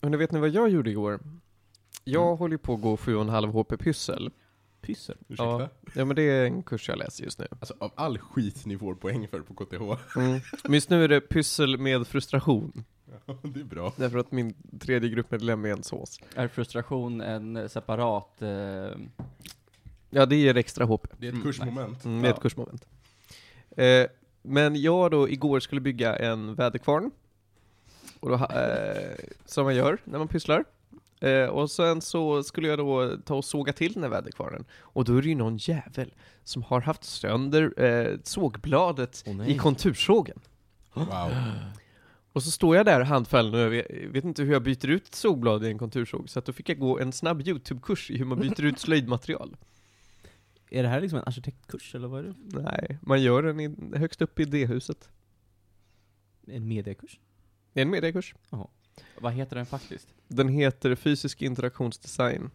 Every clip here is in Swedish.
Hörrni, vet ni vad jag gjorde igår? Jag håller ju på att gå 7,5 HP pyssel. Pyssel? Ja. Ursäkta? Ja, men det är en kurs jag läser just nu. Alltså av all skit ni får poäng för på KTH. Mm. Men just nu är det pyssel med frustration. Ja, det är bra. Därför att min tredje gruppmedlem är en sås. Är frustration en separat... Eh, Ja, det ger extra HP. Det är ett Mm, kursmoment. Mm, det är ett Ja. kursmoment. Eh, men jag då igår skulle bygga en väderkvarn. Och då, ha- eh, som man gör när man pysslar. Eh, och sen så skulle jag då ta och såga till den här väderkvarnen. Och då är det ju någon jävel som har haft sönder eh, sågbladet Åh, nej. i kontursågen. Wow. Och så står jag där handfallen och jag vet, vet inte hur jag byter ut ett sågblad i en kontursåg. Så att då fick jag gå en snabb YouTube-kurs i hur man byter ut slöjdmaterial. Är det här liksom en arkitektkurs eller vad är Nej, man gör den i, högst upp i D-huset. det? En mediakurs? Det är en mediekurs. vad heter den faktiskt? Den heter Fysisk interaktionsdesign.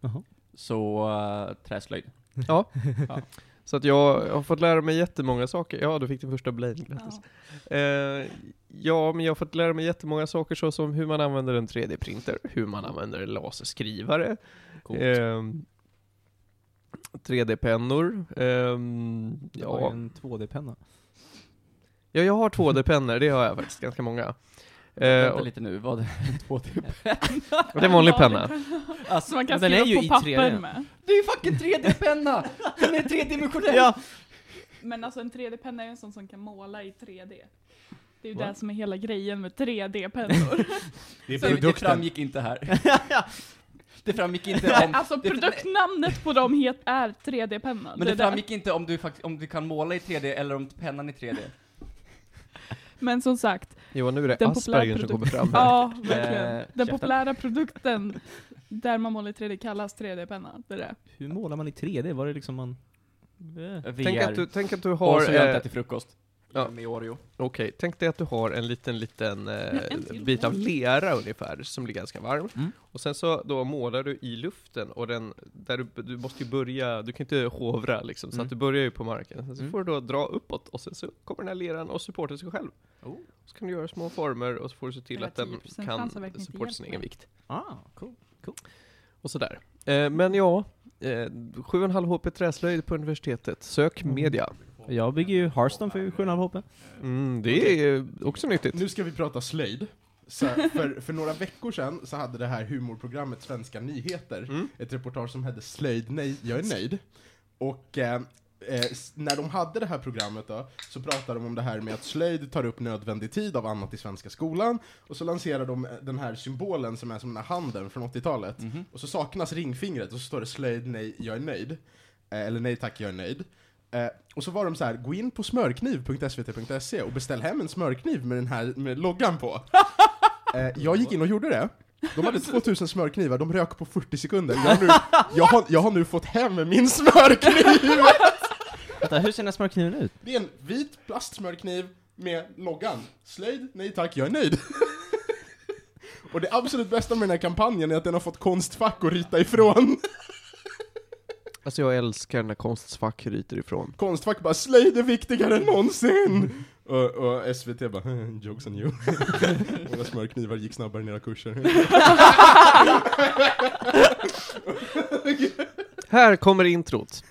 Jaha. Så, eh, träslöjd. Ja. Ja. Så att jag har fått lära mig jättemånga saker. Ja, du fick din första blade, grattis. Eh, ja, men jag har fått lära mig jättemånga saker såsom hur man använder en 3D-printer, hur man använder en laserskrivare, Coolt. ehm, 3D-pennor. ehm, Jag har ju ja. en 2D-penna. ja, jag har 2D-pennor, det har jag faktiskt, ganska många. Eh, Vänta och, lite nu, vad två typ? det är en vanlig penna. Alltså Man kan skriva på papper med. Det är ju fucking 3D-penna! Den är tredimensionell! Ja! Men alltså en 3D-penna är ju en sån som kan måla i 3D. Det är ju Va? det som är hela grejen med 3D-pennor. Det är Så det produkten. framgick inte här. Det framgick inte om... alltså det- produktnamnet på dem het, är 3D-penna. Men Det det är där. framgick inte om du, fakt- om du kan måla i 3D eller om pennan är 3D. Men som sagt, Johan, nu är det Den Asperger som populärprodukt- kommer fram här. ja verkligen. Eh, Den käften. populära produkten där man målar i 3D kallas 3D-penna. Det är det. Hur målar man i 3D? Var det liksom man... Eh. VR. Tänk att, du, tänk att du Och har... så gör eh, jag till frukost. ja. Med Oreo. Okej, tänk dig att du har en liten, liten eh, en till. bit av lera ungefär, som blir ganska varm. Mm. Och sen så då målar du i luften, och den, där du, du måste ju börja, du kan inte hovra liksom, så Mm. att du börjar ju på marken. Sen så Mm. får du då dra uppåt, och sen så kommer den här leran och supportar sig själv. Oh. Så kan du göra små former, och så får du se till Eller att den 10% kan chans att typ. verkligen inte supporta sin hjälpa. egen vikt. Ah, cool. Och sådär. Eh, men ja, eh, 7,5 HP träslöjd på universitetet. Sök Mm. media. Jag bygger ju Hearthstone för 7,5 HP. Mm, det är eh, också nyttigt. Nu ska vi prata slöjd. Så här, för, för några veckor sedan så hade det här humorprogrammet Svenska nyheter Mm. ett reportage som hette Slöjd, nej, jag är nöjd. Och eh, eh, s- när de hade det här programmet då, så pratade de om det här med att slöjd tar upp nödvändig tid av annat i svenska skolan, och så lanserar de eh, den här symbolen som är som den här handen från 80-talet, Mhm. och så saknas ringfingret och så står det slöjd, nej, jag är nöjd. Eh, eller nej tack, jag är nöjd. Eh, och så var de så här, gå in på smörkniv.svt.se och beställ hem en smörkniv med den här med loggan på. Eh, jag gick in och gjorde det. De hade 2000 smörknivar, de rök på 40 sekunder. Jag har nu, jag har, jag har nu fått hem min smörkniv! Vänta, hur ser den här smörkniven ut? Det är en vit plastsmörkniv med loggan. Slöjd? Nej tack, jag är nöjd. Och det absolut bästa med den här kampanjen är att den har fått Konstfack att rita ifrån. Alltså jag älskar när Konstfack ryter ifrån. Konstfack bara 'Slöjd är viktigare än någonsin!' Och, och SVT bara "Eh, 'Jokes on you' Våra smörknivar gick snabbare än era kurser. Här kommer introt.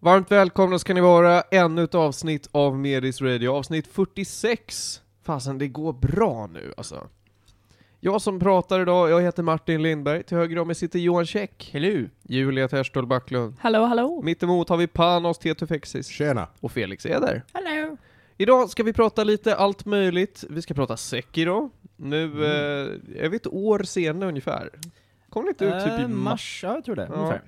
Varmt välkomna ska ni vara, ännu ett avsnitt av Medis Radio, avsnitt 46. Fasen, det går bra nu alltså. Jag som pratar idag, jag heter Martin Lindberg, till höger om mig sitter Johan Käck. Hello. Julia Terstol Backlund. Hallå hallå! Mitt emot har vi Panos Tetufexis. Tjena! Och Felix Eder. Hallå! Idag ska vi prata lite allt möjligt. Vi ska prata Sekiro. Nu eh, är vi ett år senare ungefär. Kom det inte ut typ i Eh, mars? Ja, jag tror det. Ja. Ungefär.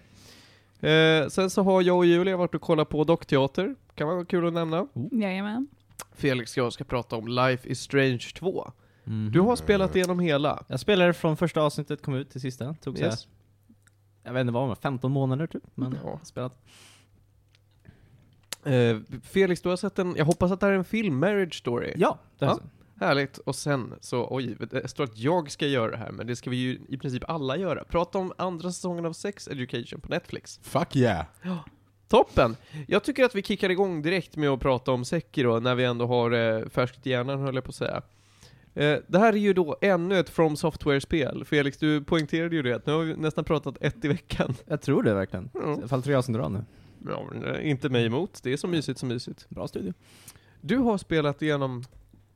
Eh, sen så har jag och Julia varit och kollat på dockteater. Kan vara kul att nämna. Jajamän. Felix och jag ska prata om Life is Strange 2. Mhm. Du har spelat igenom hela. Jag spelade från första avsnittet, kom ut till sista. Tog så här, Yes. jag vet inte vad, det var, 15 månader typ. Men Ja. ja. spelat. Eh, Felix, du har sett en, jag hoppas att det här är en film, Marriage Story. Ja, det har Ja. Härligt. Och sen så, oj, det står att jag ska göra det här, men det ska vi ju i princip alla göra. Prata om andra säsongen av Sex Education på Netflix. Fuck yeah! Toppen! Jag tycker att vi kickar igång direkt med att prata om Sekiro, när vi ändå har eh, färskt i hjärnan, höll jag på att säga. Eh, det här är ju då ännu ett From Software-spel. Felix, du poängterade ju det, att nu har vi nästan pratat ett i veckan. Jag tror det verkligen. I Ja. alla fall tre avsnitt i rad nu. Ja, men, eh, inte mig emot, det är så mysigt, så mysigt. Bra studio. Du har spelat igenom...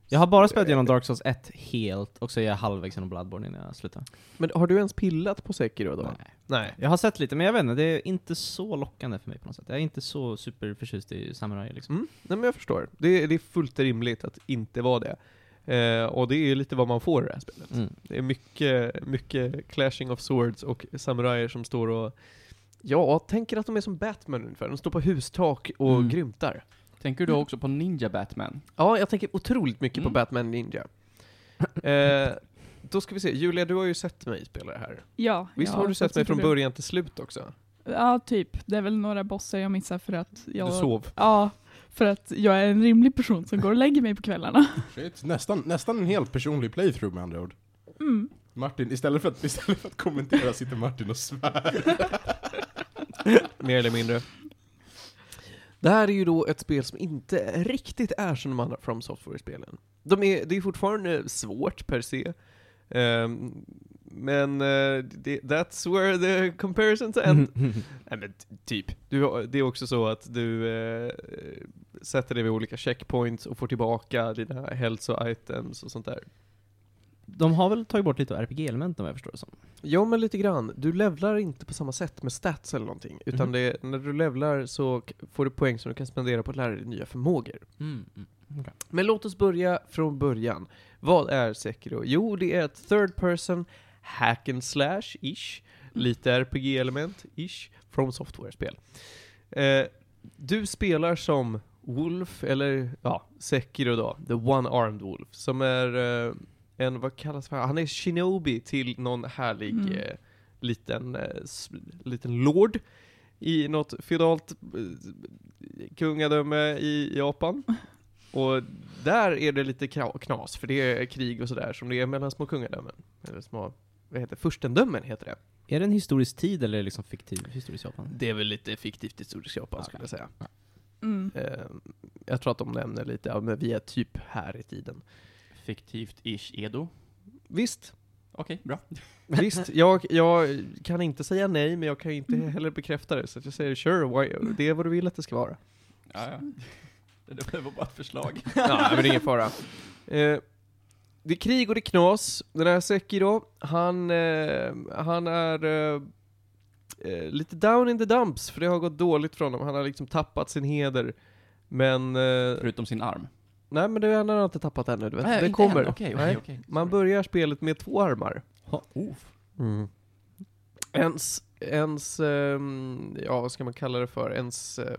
Jag har bara spelat igenom Dark Souls 1 helt, och så är jag halvvägs genom Bloodborne innan jag slutar. Men har du ens pillat på Sekiro då? Nej. Nej. Jag har sett lite, men jag vet inte, det är inte så lockande för mig på något sätt. Jag är inte så superförtjust i samurai liksom. Mm. Nej men jag förstår. Det, är- det är fullt rimligt att inte vara det. Eh, och det är ju lite vad man får i det här spelet. Mm. Det är mycket, mycket clashing of swords och samurajer som står och Ja, tänker att de är som Batman ungefär. De står på hustak och Mm. grymtar. Tänker du då också på Ninja Batman? Ja, jag tänker otroligt mycket Mm. på Batman Ninja. Eh, då ska vi se. Julia, du har ju sett mig spela det här. Ja. Visst ja, har du jag sett mig tycker från det. början till slut också? Ja, typ. Det är väl några bossar jag missar för att jag... Du sov. Ja, för att jag är en rimlig person som går och lägger mig på kvällarna. Shit. Nästan, nästan en helt personlig playthrough med andra ord. Mm. Martin, istället för att, istället för att kommentera sitter Martin och svär. Mer eller mindre. Det här är ju då ett spel som inte riktigt är som de andra From Software-spelen. De är, det är fortfarande svårt per se. Ehm, men eh, det, that's where the comparisons end. Nej men t- typ. Du, har- det är också så att du eh, sätter dig vid olika checkpoints och får tillbaka dina hälsoitems och sånt där. De har väl tagit bort lite RPG-element om jag förstår det som. Ja, men lite grann. Du levlar inte på samma sätt med stats eller någonting. Utan Mhm. det, när du levlar så k- får du poäng som du kan spendera på att lära dig nya förmågor. Mm, Men låt oss börja från början. Vad är Sekiro? Jo, det är ett third person hack and slash-ish. Lite RPG-element-ish. From Software-spel. Eh, du spelar som Wolf, eller ja, Sekiro då. The One-Armed Wolf. Som är eh, en, vad kallas han? Han är shinobi till någon härlig Mm. eh, liten, eh, s- liten lord. I något feodalt eh, kungadöme i Japan. Och där är det lite kra- knas, för det är krig och sådär som det är mellan små kungadömen. Eller små, vad heter det? Furstendömen heter det. Är det en historisk tid eller är det liksom fiktiv historisk Japan? Det är väl lite fiktivt historiskt Japan Ja, skulle ja. jag säga. Mm. Eh, jag tror att de nämner lite, ja, men vi är typ här i tiden. Fiktivt-ish Edo. Visst, Okej, bra. visst, jag, jag kan inte säga nej, men jag kan ju inte heller bekräfta det, så att jag säger sure, why, det är vad du vill att det ska vara. Ja, ja. Det var bara ett förslag. Nej, men det är ingen fara. Eh, det är krig och det är knas. Den här Sekiro, han, eh, han är eh, eh, lite down in the dumps, för det har gått dåligt för honom. Han har liksom tappat sin heder. Men, eh, Förutom sin arm. nej men det han har han inte tappat ännu, du vet. Nej, det inte kommer. än. Okej, Nej. okej, okej. Man börjar spelet med två armar. oh, Ens, ens ehm, ja vad ska man kalla det för, ens eh,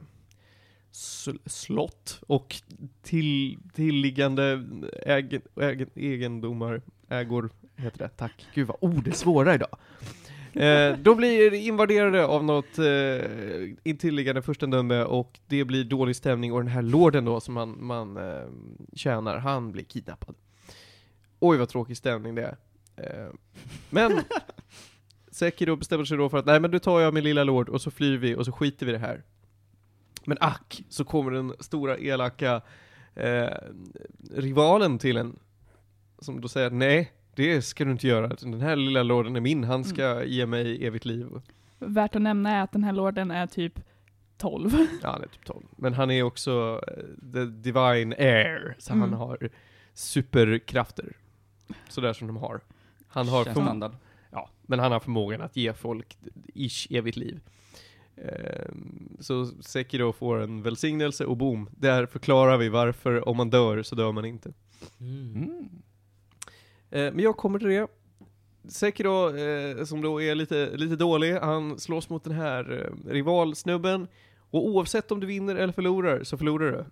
sl- slott och till, tilliggande äg, äg, egendomar, ägor heter det, tack. Gud vad ord är svåra idag. Eh, då blir det invaderade av något eh, intilliggande furstendöme och det blir dålig stämning och den här lorden då som man, man eh, tjänar, han blir kidnappad. Oj vad tråkig stämning det är. Eh, men Sekiro bestämmer sig då för att nej men du tar jag min lilla lord och så flyr vi och så skiter vi i det här. Men ack, så kommer den stora elaka eh, rivalen till en som då säger att nej, det ska du inte göra. Den här lilla lorden är min, han ska ge mig evigt liv. Värt att nämna är att den här lorden är typ 12. Ja, han är typ 12. Men han är också eh, the divine heir, så han Mm. har superkrafter. Sådär som de har. Han har Känns förm- standard. Ja, men han har förmågan att ge folk ish evigt liv. Ehm, Så Sekiro får en välsignelse och boom, där förklarar vi varför om man dör så dör man inte. Mm. Eh, Men jag kommer till det. Sekiro, eh, som då är lite, lite dålig, han slåss mot den här eh, rivalsnubben. Och oavsett om du vinner eller förlorar, så förlorar du.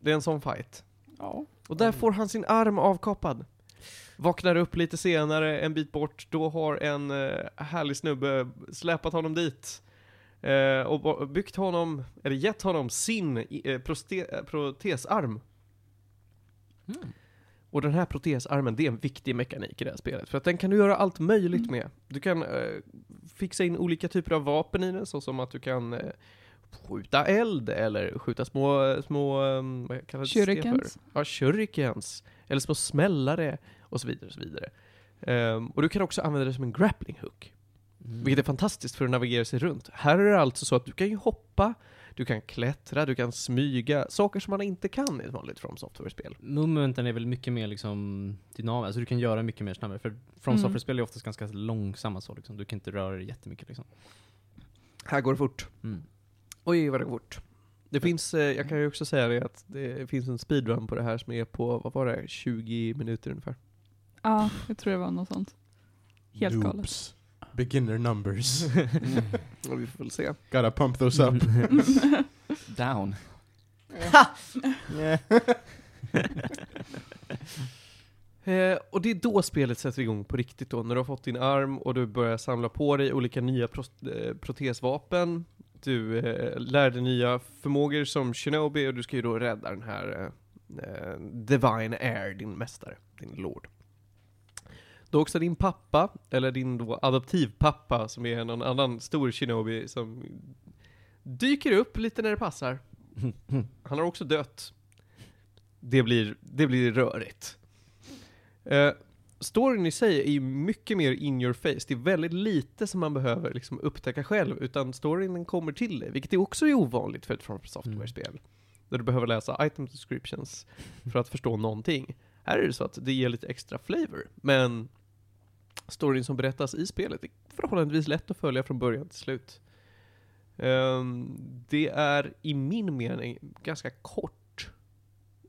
Det är en sån fight. Ja. Och där får han sin arm avkapad. Vaknar upp lite senare, en bit bort, då har en eh, härlig snubbe släpat honom dit. Eh, och ba- byggt honom, eller gett honom sin i- eh, proste- eh, protesarm. Mm. Och den här protesarmen, det är en viktig mekanik i det här spelet. För att den kan du göra allt möjligt med. Du kan eh, fixa in olika typer av vapen i den, såsom att du kan eh, skjuta eld eller skjuta små, små eh, vad kallas det för? Shurikens. Ja, shurikens. Eller små smällare och så vidare. Och så vidare. Ehm, och du kan också använda det som en grappling hook. Mm. Vilket är fantastiskt för att navigera sig runt. Här är det alltså så att du kan ju hoppa, du kan klättra, du kan smyga. Saker som man inte kan i ett vanligt From Software-spel. Momenten är väl mycket mer liksom dynamiska, alltså du kan göra mycket mer snabbare. För From Mm. Software-spel är oftast ganska långsamma så liksom. Du kan inte röra dig jättemycket liksom. Här går det fort. Mm. Oj, vad det går fort. Det finns, eh, jag kan ju också säga det att det finns en speedrun på det här som är på, vad var det, 20 minuter ungefär. Ja, jag tror det var något sånt. Helt galet. Loops. Beginner numbers. Och vi får väl se. Gotta pump those up. Down. Eh, och det är då spelet sätter igång på riktigt då, när du har fått din arm och du börjar samla på dig olika nya pros- eh, protesvapen. Du eh, lär dig nya förmågor som Shinobi och du ska ju då rädda den här eh, eh, Divine Air, din mästare, din lord. Då också din pappa, eller din då adoptivpappa som är någon annan stor Shinobi som dyker upp lite när det passar. Han har också dött. Det blir, det blir rörigt. Eh, storyn i sig är ju mycket mer in your face. Det är väldigt lite som man behöver liksom upptäcka själv, utan storyn den kommer till dig, vilket är också är ovanligt för ett From Software-spel. Där du behöver läsa item descriptions för att förstå någonting. Här är det så att det ger lite extra flavor, men storyn som berättas i spelet är förhållandevis lätt att följa från början till slut. Ehm, det är i min mening ganska kort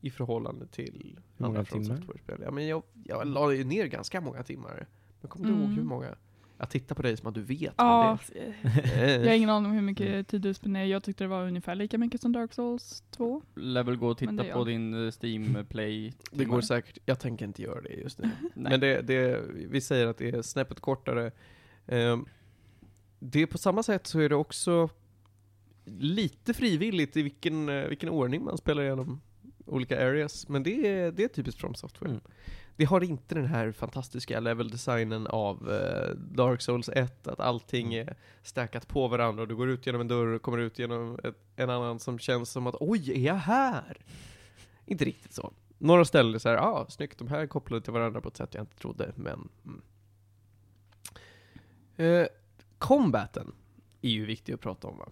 i förhållande till Hur många andra From timmar? Software-spel. Ja, men jag, jag la ju ner ganska många timmar. Jag kommer inte Mm. ihåg hur många. Jag tittar på dig som att du vet Ja, vad det Mm. är. jag har ingen aning om hur mycket tid du spenderar. Jag tyckte det var ungefär lika mycket som Dark Souls 2. Lär väl gå och Men det titta är på jag. din eh, Steam Play. Det går säkert. Jag tänker inte göra det just nu. Nej. Men det, det, vi säger att det är snäppet kortare. Ehm, det är på samma sätt så är det också lite frivilligt i vilken, eh, vilken ordning man spelar igenom olika areas. Men det är, det är typiskt From Software. Mm. Det har inte den här fantastiska level-designen av eh, Dark Souls 1, att allting är stackat på varandra och du går ut genom en dörr och kommer ut genom ett, en annan som känns som att oj, är jag här? Inte riktigt så. Några ställen är så här, ja, ah, snyggt, de här är kopplade till varandra på ett sätt jag inte trodde, men... Mm. Eh, combaten är ju viktig att prata om va?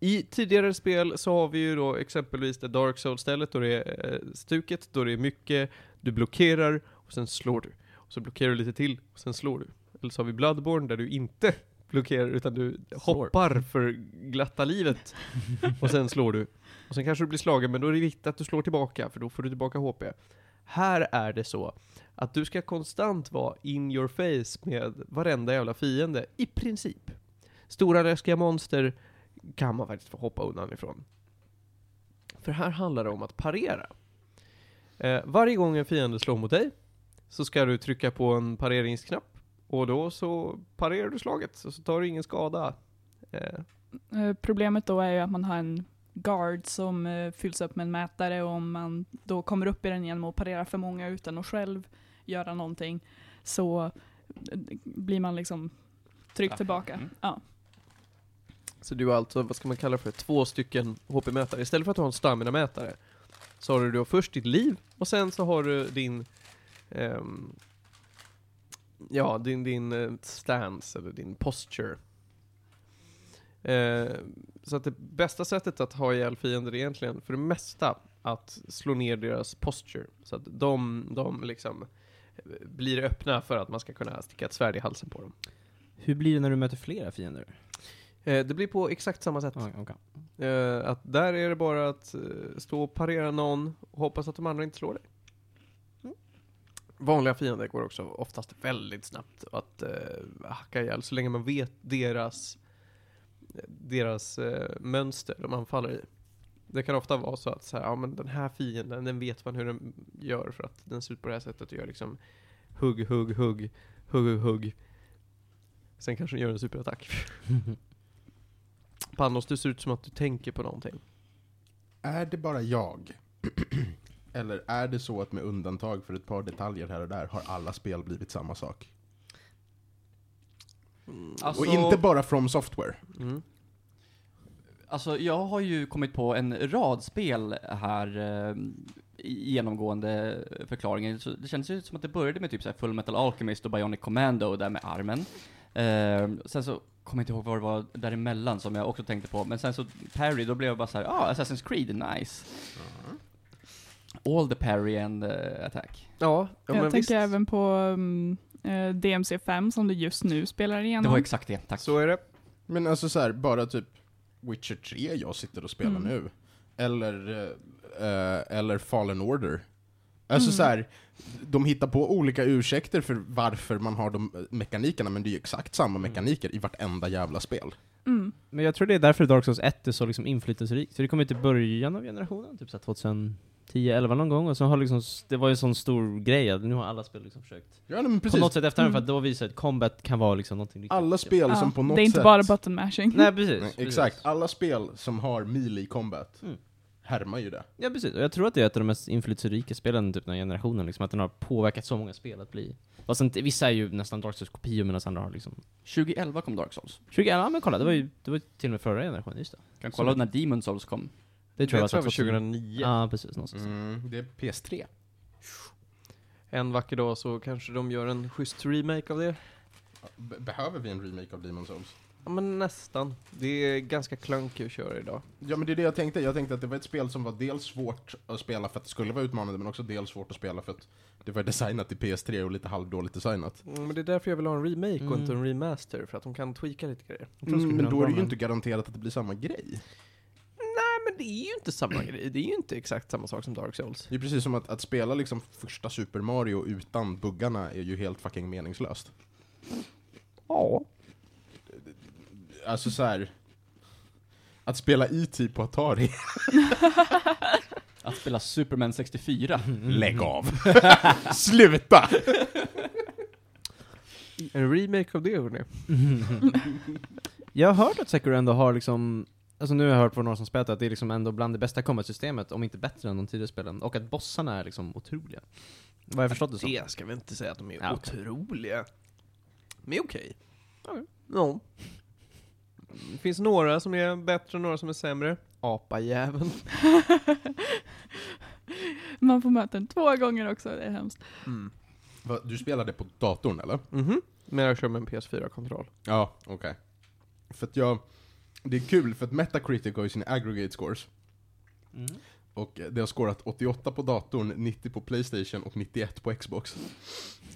I tidigare spel så har vi ju då exempelvis det Dark Souls-stället då det är eh, stuket, då det är mycket, du blockerar och sen slår du. Och så blockerar du lite till och sen slår du. Eller så har vi Bloodborne där du inte blockerar utan du Slår. hoppar för glatta livet och sen slår du. Och sen kanske du blir slagen men då är det viktigt att du slår tillbaka för då får du tillbaka HP. Här är det så att du ska konstant vara in your face med varenda jävla fiende, i princip. Stora läskiga monster kan man faktiskt få hoppa undan ifrån. För här handlar det om att parera. Eh, varje gång en fiende slår mot dig så ska du trycka på en pareringsknapp och då så parerar du slaget och så tar du ingen skada. Eh, Eh, problemet då är ju att man har en guard som eh, fylls upp med en mätare och om man då kommer upp i den genom att parera för många utan att själv göra någonting så eh, blir man liksom tryckt Straffad. tillbaka. Mm. Ja. Så du har alltså, vad ska man kalla det för, två stycken HP-mätare. Istället för att ha en stamina-mätare så har du då först ditt liv och sen så har du din ehm, ja, din, din eh, stance eller din posture. Eh, så att det bästa sättet att ha ihjäl fiender är egentligen för det mesta att slå ner deras posture. Så att de, de liksom eh, blir öppna för att man ska kunna sticka ett svärd i halsen på dem. Hur blir det när du möter flera fiender? Eh, det blir på exakt samma sätt. Ah, okay. Eh, att där är det bara att eh, stå och parera någon och hoppas att de andra inte slår dig. Vanliga fiender går också oftast väldigt snabbt att eh, hacka ihjäl så länge man vet deras, deras eh, mönster de eh, anfaller i. Det kan ofta vara så att så här, ja, men den här fienden, den vet man hur den gör för att den ser ut på det här sättet och gör liksom hugg, hugg, hugg, hugg, hugg, hugg. Sen kanske den gör en superattack. Panos, du ser ut som att du tänker på någonting. Är det bara jag? Eller är det så att med undantag för ett par detaljer här och där har alla spel blivit samma sak? Alltså, Och inte bara From Software. Mm. alltså, jag har ju kommit på en rad spel här eh, i- genomgående förklaringen. Så det känns ju som att det började med typ så här Full Metal Alchemist och Bionic Commando där med armen. Eh, sen så kommer jag inte ihåg vad det var däremellan som jag också tänkte på, men sen så Parry, då blev jag bara så här, ah, Assassin's Creed, nice. All the parry and eh, attack. Ja, ja, jag men tänker visst. även på mm, eh, DMC5 som du just nu spelar Det igenom. var exakt det, tack. Så är det. Men alltså så här, bara typ Witcher 3 jag sitter och spelar Mm. nu. Eller, eh, eh, eller Fallen Order. Alltså så här, de hittar på olika ursäkter för varför man har de eh, mekanikerna, men det är ju exakt samma mekaniker i vartenda jävla spel. mm. Men jag tror det är därför Dark Souls 1 är så liksom inflytelserikt, för det kom ut i början av generationen, typ såhär 2010, 11 någon gång, och så har liksom, s- det var ju en sån stor grej att nu har alla spel liksom försökt Ja, nej, men På precis. något sätt efter den, för att Mm. då visar att combat kan vara liksom någonting riktigt Alla kul. spel som Ja, på något det är inte sätt... bara button mashing. Nej precis, Nej, precis. exakt, alla spel som har melee combat Mm. härmar ju det. Ja precis, och jag tror att det är ett av de mest inflytelserika spelen typ den här generationen, liksom, att den har påverkat så många spel att bli. Fast inte, vissa är ju nästan Dark Souls kopior medan andra har liksom... 2011 kom Dark Souls. 20, ja men kolla, det var ju det var ju till och med förra generationen, just det. Kan kolla när Demon Souls kom. Det tror jag, tror jag var 2000. 2009. Ja precis, någonstans. det är PS3. En vacker dag så kanske de gör en schysst remake av det. Be- behöver vi en remake av Demon's Souls? Ja men nästan. Det är ganska klunky att köra idag. Ja men det är det jag tänkte, jag tänkte att det var ett spel som var dels svårt att spela för att det skulle vara utmanande men också dels svårt att spela för att det var designat till PS3 och lite halvdåligt designat. Mm, men det är därför jag vill ha en remake och Mm. inte en remaster, för att de kan tweaka lite grejer. tror det skulle Mm, men kunna då är vara det ju en- inte garanterat att det blir samma grej. Nej men det är ju inte samma grej, det är ju inte exakt samma sak som Dark Souls. Det är precis som att, att spela liksom första Super Mario utan buggarna är ju helt fucking meningslöst. Ja. Alltså så här. Att spela IT på Atari, Att spela Superman 64. lägg av! Sluta! En remake av det hörni. jag har hört att Sekiro ändå har liksom, alltså nu har jag hört från några som spelat att det är liksom ändå bland det bästa combat-systemet, om inte bättre än de tidigare spelen, och att bossarna är liksom otroliga. Vad har jag förstått det som. Det ska vi inte säga att de är Ja, okej. otroliga. Men okej. Ja. Det finns några som är bättre och några som är sämre. Apajäveln. Man får möta den två gånger också, det är hemskt. Mm. Va, Du spelade på datorn eller? Mhm. Men jag kör med en PS4-kontroll. Ja, okej. För att jag... Det är kul för att Metacritic har ju sina aggregate scores. Mm. Och det har scorat 88 på datorn, 90 på Playstation och 91 på Xbox.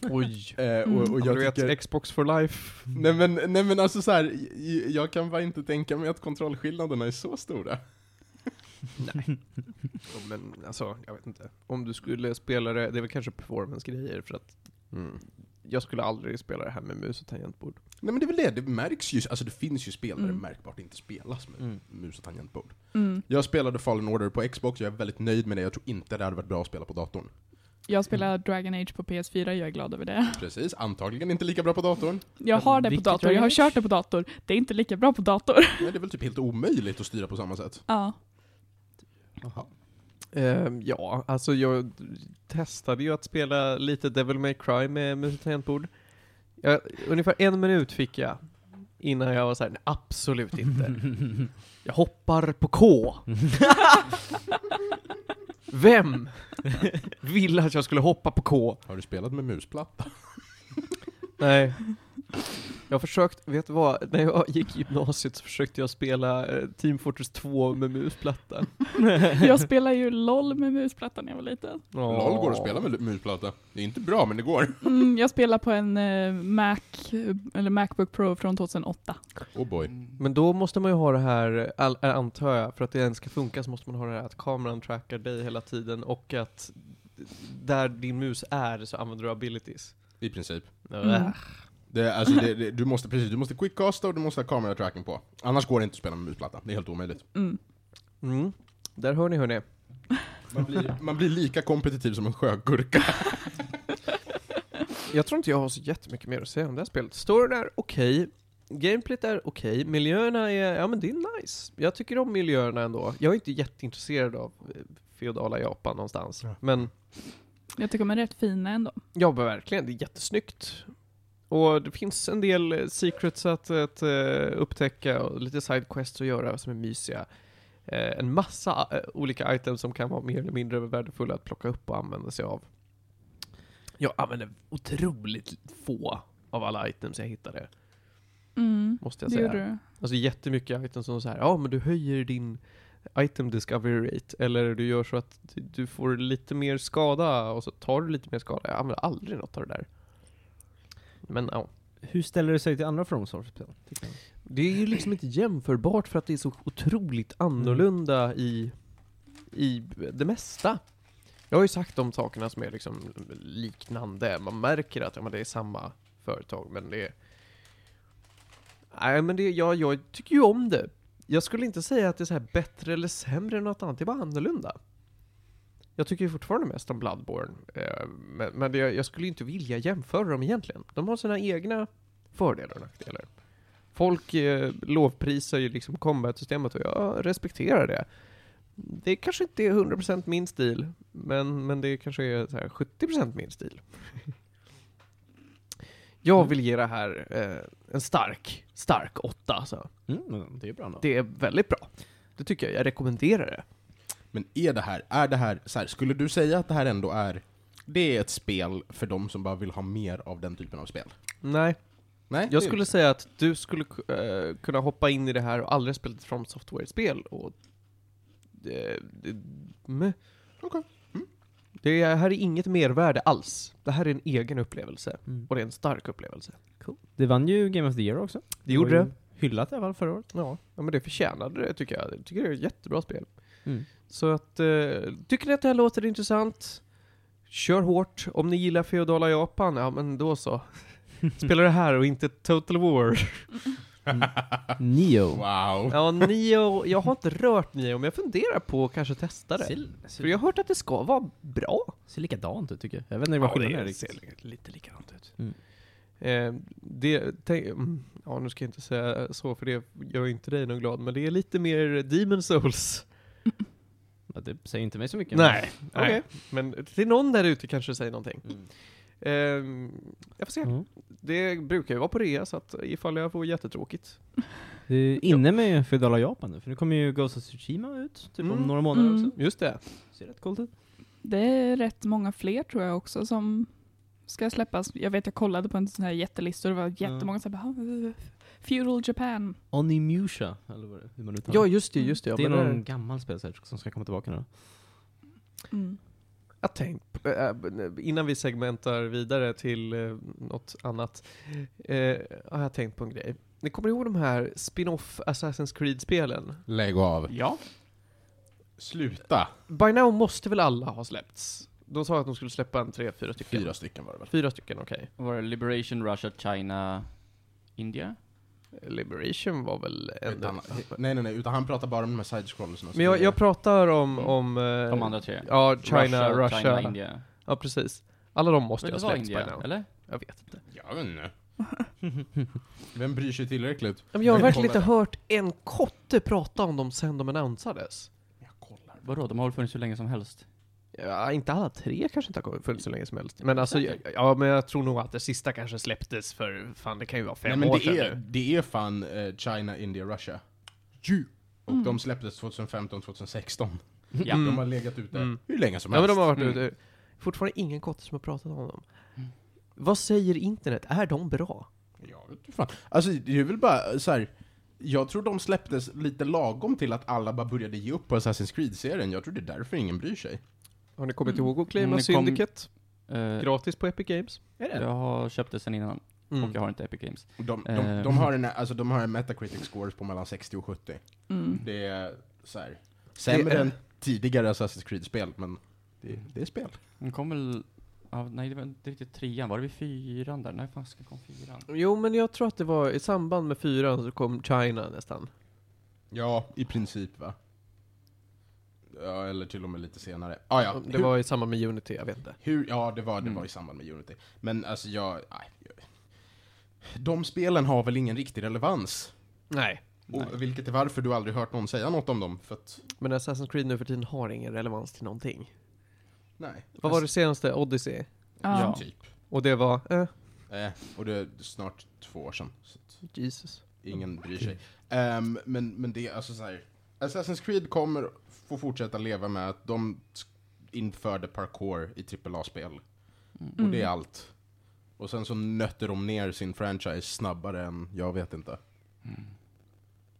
Oj. Eh, Mm. och, och Ja, jag du vet, tycker... Xbox for life. Nej men, nej men alltså så här, j- j- jag kan bara inte tänka mig att kontrollskillnaderna är så stora. Ja, Men alltså, jag vet inte. Om du skulle spela det, det är väl kanske performance-grejer för att Mm. jag skulle aldrig spela det här med mus och tangentbord. Nej men det är väl det, det märks ju, alltså det finns ju spel där Mm. det märkbart inte spelas med Mm. mus och tangentbord. Mm. Jag spelade Fallen Order på Xbox, jag är väldigt nöjd med det, jag tror inte det hade varit bra att spela på datorn. Jag spelar Dragon Age på PS4, jag är glad över det. Precis, antagligen inte lika bra på datorn. Jag har det på Vilket dator, jag har Dragon Age? kört det på dator. Det är inte lika bra på dator. Nej, det är väl typ helt omöjligt att styra på samma sätt. Ja. Ehm, ja, alltså jag testade ju att spela lite Devil May Cry med mus och tangentbord. Jag, ungefär en minut fick jag innan jag var såhär, nej absolut inte. Jag hoppar på K. Vem ville att jag skulle hoppa på K? Har du spelat med musplatta? Nej. Jag har försökt, vet du vad? När jag gick i gymnasiet så försökte jag spela eh, Team Fortress 2 med musplatta. Jag spelar ju LOL med musplattan när jag var liten. LOL går att spela med musplatta. Det är inte bra, men det går. Mm, jag spelar på en eh, Mac, eller Macbook Pro från 2008. Oh boy. Men då måste man ju ha det här, all, äh, antar jag, för att det ens ska funka så måste man ha det här att kameran trackar dig hela tiden och att där din mus är så använder du abilities. I princip. Mm. Det, är- alltså, det, det, du måste precis, du måste quickcasta och du måste ha kameratracking på. Annars går det inte att spela med musplatta. Det är helt omöjligt. Mm. Mm. Där hör ni hörni. Man blir, man blir lika kompetitiv som en sjögurka. Jag tror inte jag har så jättemycket mer att säga om det här spelet. Storyn är okej, gameplayt är okej, miljöerna är, ja men det är nice. Jag tycker om miljöerna ändå. Jag är inte jätteintresserad av eh, feodala Japan någonstans. Ja. Men Jag tycker de är rätt fina ändå. ja, men verkligen, det är jättesnyggt. Och det finns en del eh, secrets att, att eh, upptäcka och lite sidequests att göra som är mysiga. Eh, en massa eh, olika items som kan vara mer eller mindre värdefulla att plocka upp och använda sig av. Jag använde otroligt få av alla items jag hittade. Mm, Måste jag det säga. gjorde du. Alltså jättemycket items som så här, ja men du höjer din item discovery rate, eller du gör så att du- du får lite mer skada, och så tar du lite mer skada. Jag använder aldrig något av det där. Men ja. Hur ställer det sig till andra From Software-spel? tycker ni? Det är ju liksom inte jämförbart för att det är så otroligt annorlunda i, i det mesta. Jag har ju sagt de sakerna som är liksom liknande. Man märker att ja, men det är samma företag, men det... Nej, men det, jag, jag tycker ju om det. Jag skulle inte säga att det är så här bättre eller sämre än något annat, det är bara annorlunda. Jag tycker ju fortfarande mest om Bloodborne, eh, men, men det, jag skulle ju inte vilja jämföra dem egentligen. De har sina egna fördelar och nackdelar. Folk eh, lovprisar ju liksom combat-systemet och jag respekterar det. Det kanske inte är 100% min stil, men, men det kanske är så här 70% min stil. Jag vill ge det här eh, en stark, stark åtta. Så. Mm, men det är bra ändå. Det är väldigt bra. Det tycker jag, jag rekommenderar det. Men är det här, är det här, så här, skulle du säga att det här ändå är, det är ett spel för de som bara vill ha mer av den typen av spel? Nej, Nej? jag det- skulle säga att du skulle eh, kunna hoppa in i det här och aldrig spela ett From Software-spel och... Eh, det- meh. Mm. Okej. Det är- här är inget mervärde alls. Det här är en egen upplevelse. Mm. Och det är en stark upplevelse. Det vann ju Game of the Year också. Det gjorde var det. ju Hyllat i alla fall förra året. Ja, ja, men det förtjänade det tycker jag. Jag tycker det är ett jättebra spel. Mm. Så att, eh, tycker ni att det här låter intressant? Kör hårt. Om ni gillar feodala Japan, ja men då så. Spela det här och inte Total War. Ah. Neo. Wow. Ja, Nio, jag har inte rört Nio, men jag funderar på att kanske testa det. Ser, För jag har hört att det ska vara bra. ser likadant ut tycker jag. Jag vet inte vad skillnaden är ser riktigt. li- lite likadant ut. Mm. Eh, det, tänk, mm, ja nu ska jag inte säga så för det gör inte dig någon glad, men det är lite mer Demon Souls. Ja, Det säger inte mig så mycket. Nej, men- okej. Men till någon där ute kanske det säger någonting. Mm. Eh, jag får se. Mm. Det brukar ju vara på rea, så att ifall jag får jättetråkigt. Det är inne med feudala Japan nu, för nu kommer ju Ghost of Tsushima ut, typ om Mm. några månader Mm. också. Just det. Ser rätt coolt ut. Det är rätt många fler tror jag också som ska släppas. Jag vet, jag kollade på en sån här jättelista och det var jättemånga som bara "Ah, Feudal Japan. Onimusha, eller vad det, hur man uttalar Ja, just det, just det. Ja, det är men någon det- gammal spelserie som ska komma tillbaka nu. Mm. Jag tänkte, eh, innan vi segmentar vidare till eh, något annat, eh, har jag tänkt på en grej. Ni kommer ihåg de här spin-off Assassin's Creed-spelen? Lägg av. Ja. Sluta. By now måste väl alla ha släppts? De sa att de skulle släppa en tre, fyra stycken. Fyra stycken var det väl? Fyra stycken, okej. Var det Liberation, Russia, China, India? Liberation var väl en... Utan, nej, nej, nej, utan han pratar bara om de här side-scrollerna. Men jag, jag pratar om... Mm. om eh, De andra tre? Ja, China, Russia. China, India. ja, precis. Alla de måste Men ju det ha var släppts by India, now. eller? Jag vet inte. Jag vet inte. Vem bryr sig tillräckligt? Men jag har verkligen inte kollar. hört en kotte prata om dem sen de annonsades. Jag kollar. Vadå, de har väl funnits hur länge som helst? Ja, inte alla tre kanske inte har funnits så länge som helst. Men alltså, jag- ja men jag tror nog att det sista kanske släpptes för, fan det kan ju vara Nej, fem men år det sedan är, nu. det är fan eh, China, India, Russia. Och Mm. de släpptes 2015, 2016. Ja. Mm. De har legat ute Mm. hur länge som Ja men helst. de har varit Mm. ute. Fortfarande ingen kotte som har pratat om dem. Mm. Vad säger internet? Är de bra? Jag vet inte fan. Alltså det är väl bara så här. Jag tror de släpptes lite lagom till att alla bara började ge upp på Assassin's Creed-serien. Jag tror det är därför ingen bryr sig. Har ni kommit Mm. ihåg att claima Mm, det kom- Syndicate? Eh, Gratis på Epic Games. Är det? jag har köpt det sen innan, Mm. och jag har inte Epic Games. De, de, Eh. de, har en, alltså, de har en Metacritic scores på mellan 60 och 70. Mm. Det är så här. Sämre är- än tidigare Assassin's Creed-spel, men det, det är spel. Den kom väl... Ja, nej, det var inte riktigt trean. Var det vid fyran där? När fan ska kom fyran? Jo men jag tror att det var i samband med fyran så kom China nästan. Ja, i princip va? ja, eller till och med lite senare. Ah, ja, Det hur- var i samband med Unity, jag vet inte. Hur, ja, det var, det Mm. var i samband med Unity. Men alltså jag, nej. jag- De spelen har väl ingen riktig relevans. Nej. Nej. Och, vilket är varför du aldrig hört någon säga något om dem. För att, Men Assassin's Creed nu för tiden har ingen relevans till någonting. nej. Vad var det senaste? Odyssey? Ja. Ja. Typ. Och det var, eh, Eh, och det är snart två år sedan. Så att Jesus. ingen bryr sig. Ehm, men, men det, alltså så här. Assassin's Creed kommer få fortsätta leva med att de sk- införde parkour i AAA-spel. Och det är allt. Och sen så nötter de ner sin franchise snabbare än, jag vet inte. Mm.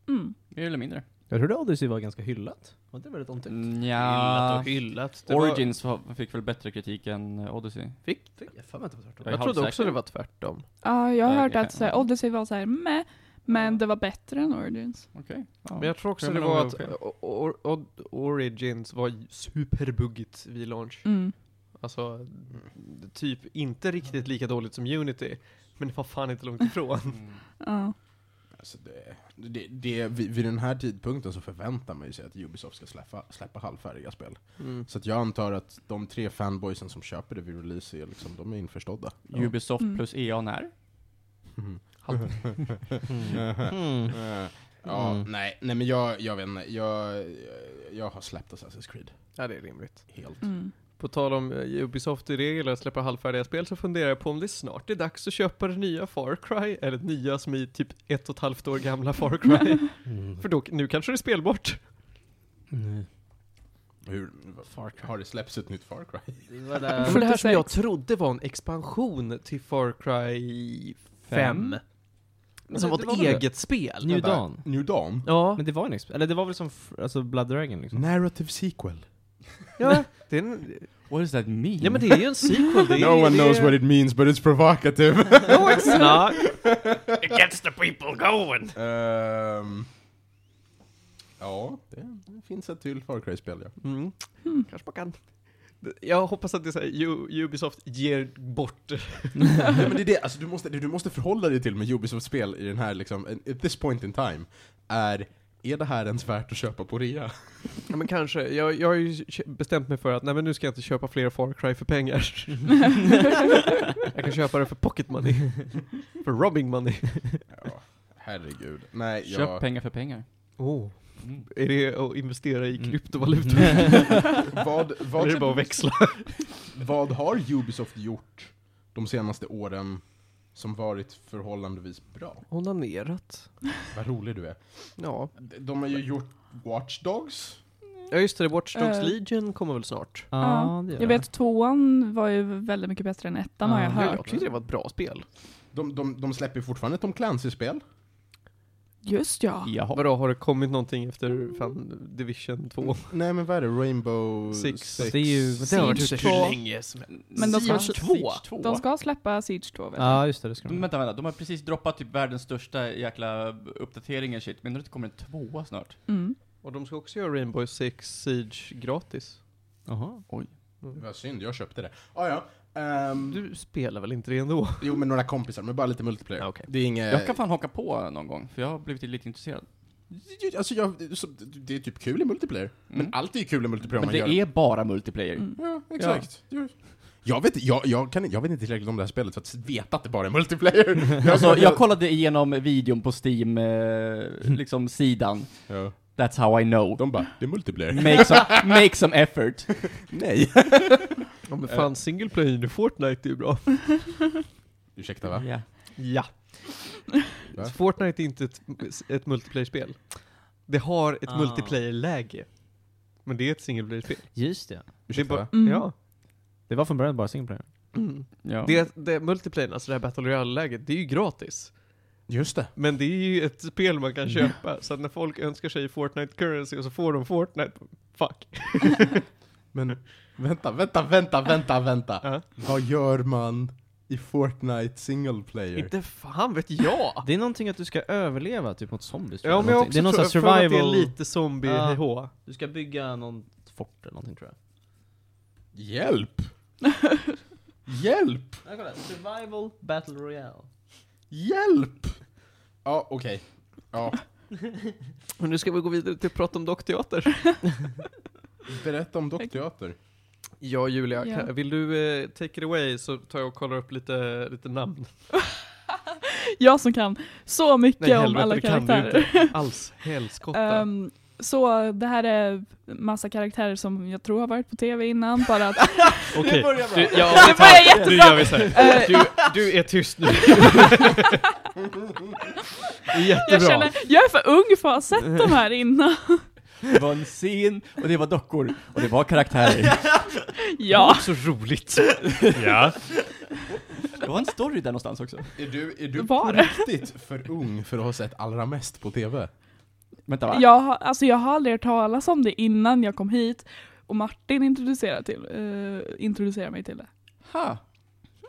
Mm. Mer eller mindre. Jag trodde Odyssey var ganska hyllat. Var det väldigt Typ. omtyckt? Mm, Hyllat Nja. och hyllat. Det var, Origins var... fick väl bättre kritik än eh, Odyssey? fick, Jag för mig att det var tvärtom. jag trodde också det var tvärtom. Ja, jag har Ja, hört okej. att så här, Odyssey var så här meh, men det var bättre än Origins. Okej. Ja. Men jag tror också Jag det menar, var om att jag var o- o- o- Origins var superbuggigt vid launch. Mm. Alltså, d- typ inte riktigt lika dåligt som Unity. Men det var fan inte långt ifrån. Mm. Ja. Alltså det, det, det, vid, vid den här tidpunkten så förväntar man ju sig att Ubisoft ska släppa, släppa halvfärdiga spel. Mm. Så att jag antar att de tre fanboysen som köper det vid release är liksom, de är införstådda. Ubisoft Mm. plus EA när? Mm. Eh, ja, Mm. nej, nej men jag, jag vet inte, jag, jag har släppt Assassin's Creed Ja, det är rimligt. helt. Mm. På tal om eh, Ubisoft i regel att släppa halvfärdiga spel så funderar jag på om det snart är dags att köpa det nya Far Cry. Eller nya som är typ ett och ett halvt år gamla Far Cry. För då, nu kanske det är spelbart. Mm. Hur, Har det släppts ett nytt Far Cry? Det var där. För det här som 76. jag trodde var en expansion till Far Cry 5. Men Som det- var det ett var väl det? eget spel. New Vänta, Dawn. New Dawn? Ja, Men det var en exp- eller det var väl som f- alltså Blood Dragon liksom? Narrative sequel. ja, det är en, What does that mean? ja men det är ju en sequel. Det är, No one det knows är, what it means but it's provocative. No it's not. It gets the people going. Ehm, ja, det det finns ett till Far Cry-spel ja. Mm. Kanske man kan. Jag hoppas att det är så här, U- Ubisoft ger bort. Nej, men det är det, alltså, du, måste, det du måste förhålla dig till med Ubisoft-spel i den här liksom, at this point in time, är är det här ens värt att köpa på rea? Ja, men kanske. Jag, jag har ju kö- bestämt mig för att nej men nu ska jag inte köpa fler Far Cry för pengar. Mm. jag kan köpa det för pocket money. för robbing money. Ja, herregud. Nej, Köp jag... pengar för pengar. Oh. Mm. Är det att investera i Mm. kryptovalutor? Vad, Eller är det vad, bara att växla? vad har Ubisoft gjort de senaste åren som varit förhållandevis bra? Onanerat. Vad rolig du är. Ja. De har ju gjort Watch Dogs. Ja just det, Watch Dogs Eh. Legion kommer väl snart? Ja, det gör Jag vet tvåan var ju väldigt mycket bättre än ettan har Ja, jag ja, Ja, hört. jag tyckte det var ett bra spel. De, de, de släpper fortfarande Tom Clancy-spel. Just ja. Jaha. Vadå, har det kommit någonting efter fan, Division 2? Nej men vad är det? Rainbow Six. Det är ju, det har varit Siege ute. två. länge som helst. Men de ska- Siege två. Mm. De ska släppa Siege 2 väl? Ja, just det, det ska de. Men Vänta, vänta. De har precis droppat typ världens största jäkla uppdateringen shit. Men det kommer en tvåa snart. Mm. Och de ska också göra Rainbow Six Siege gratis. Jaha. Vad synd, jag köpte det. Ah, ja. Ehm, Du spelar väl inte det ändå? Jo men några kompisar, men bara lite multiplayer. Ja, okej. Det är inget... Jag kan fan haka på någon gång, för jag har blivit lite intresserad. Alltså jag, så, det är typ kul i multiplayer. Mm. Men allt är ju kul i multiplayer om Men man det gör är bara multiplayer. Mm. Ja, exakt. Ja. Jag, vet, jag, jag, kan, jag vet inte tillräckligt om det här spelet för att veta att det bara är multiplayer. Alltså, jag kollade igenom videon på Steam, eh, liksom sidan. ja. That's how I know. De bara, det är multiplayer. Make some, make some effort. Nej. Ja men Eh. fan, single player i Fortnite är ju bra. Ursäkta va? Ja. Ja. Va? Fortnite är inte ett, ett multiplayer-spel. Det har ett Ah. multiplayer-läge. Men det är ett single player-spel. Just det. Det är Ursäkta bara, va? Mm. ja. Det var från början bara single player. Mm. Ja. Det, det multiplayern, alltså det här Battle Royale-läget, det är ju gratis. Just det. Men det är ju ett spel man kan köpa, så att när folk önskar sig Fortnite currency och så får de Fortnite, fuck. Men vänta, vänta, vänta, vänta, vänta. Ja. Vad gör man i Fortnite single player? Inte fan vet jag! Det är någonting att du ska överleva typ mot zombies. tror Ja men jag Någonting- också det är någon tror, sån jag har för mig survival... att det är lite zombie Ja. hå. Du ska bygga någon fort eller någonting tror jag. Hjälp! Hjälp! Ja, kolla. Survival Battle Royale. Hjälp! Ja, okej. Ja. Men nu ska vi gå vidare till att prata om dockteater. Berätta om dockteater. Ja, Julia, Ja. Kan, vill du eh, take it away så tar jag och kollar upp lite, lite namn. Jag som kan så mycket Nej, om helvete, alla det kan du karaktärer. inte. Alls, helskotta. Ehm, så det här är massa karaktärer som jag tror har varit på tv innan, bara att... Okej, börjar bra. du, ja, Det vi tar- börjar jättebra. Nu gör vi så här. Eh. Du, du är tyst nu. jag Jättebra. känner, jag är för ung för att ha sett de här innan. Det var en scen, och det var dockor, och det var karaktärer. Ja. Så roligt. Ja. Det var en story där någonstans också. Är du, är du Var på det? riktigt för ung för att ha sett allra mest på TV? Vänta va? Jag, har- alltså jag har aldrig hört talas om det innan jag kom hit. Och Martin introducerade, till, eh, introducerade mig till det. Ha.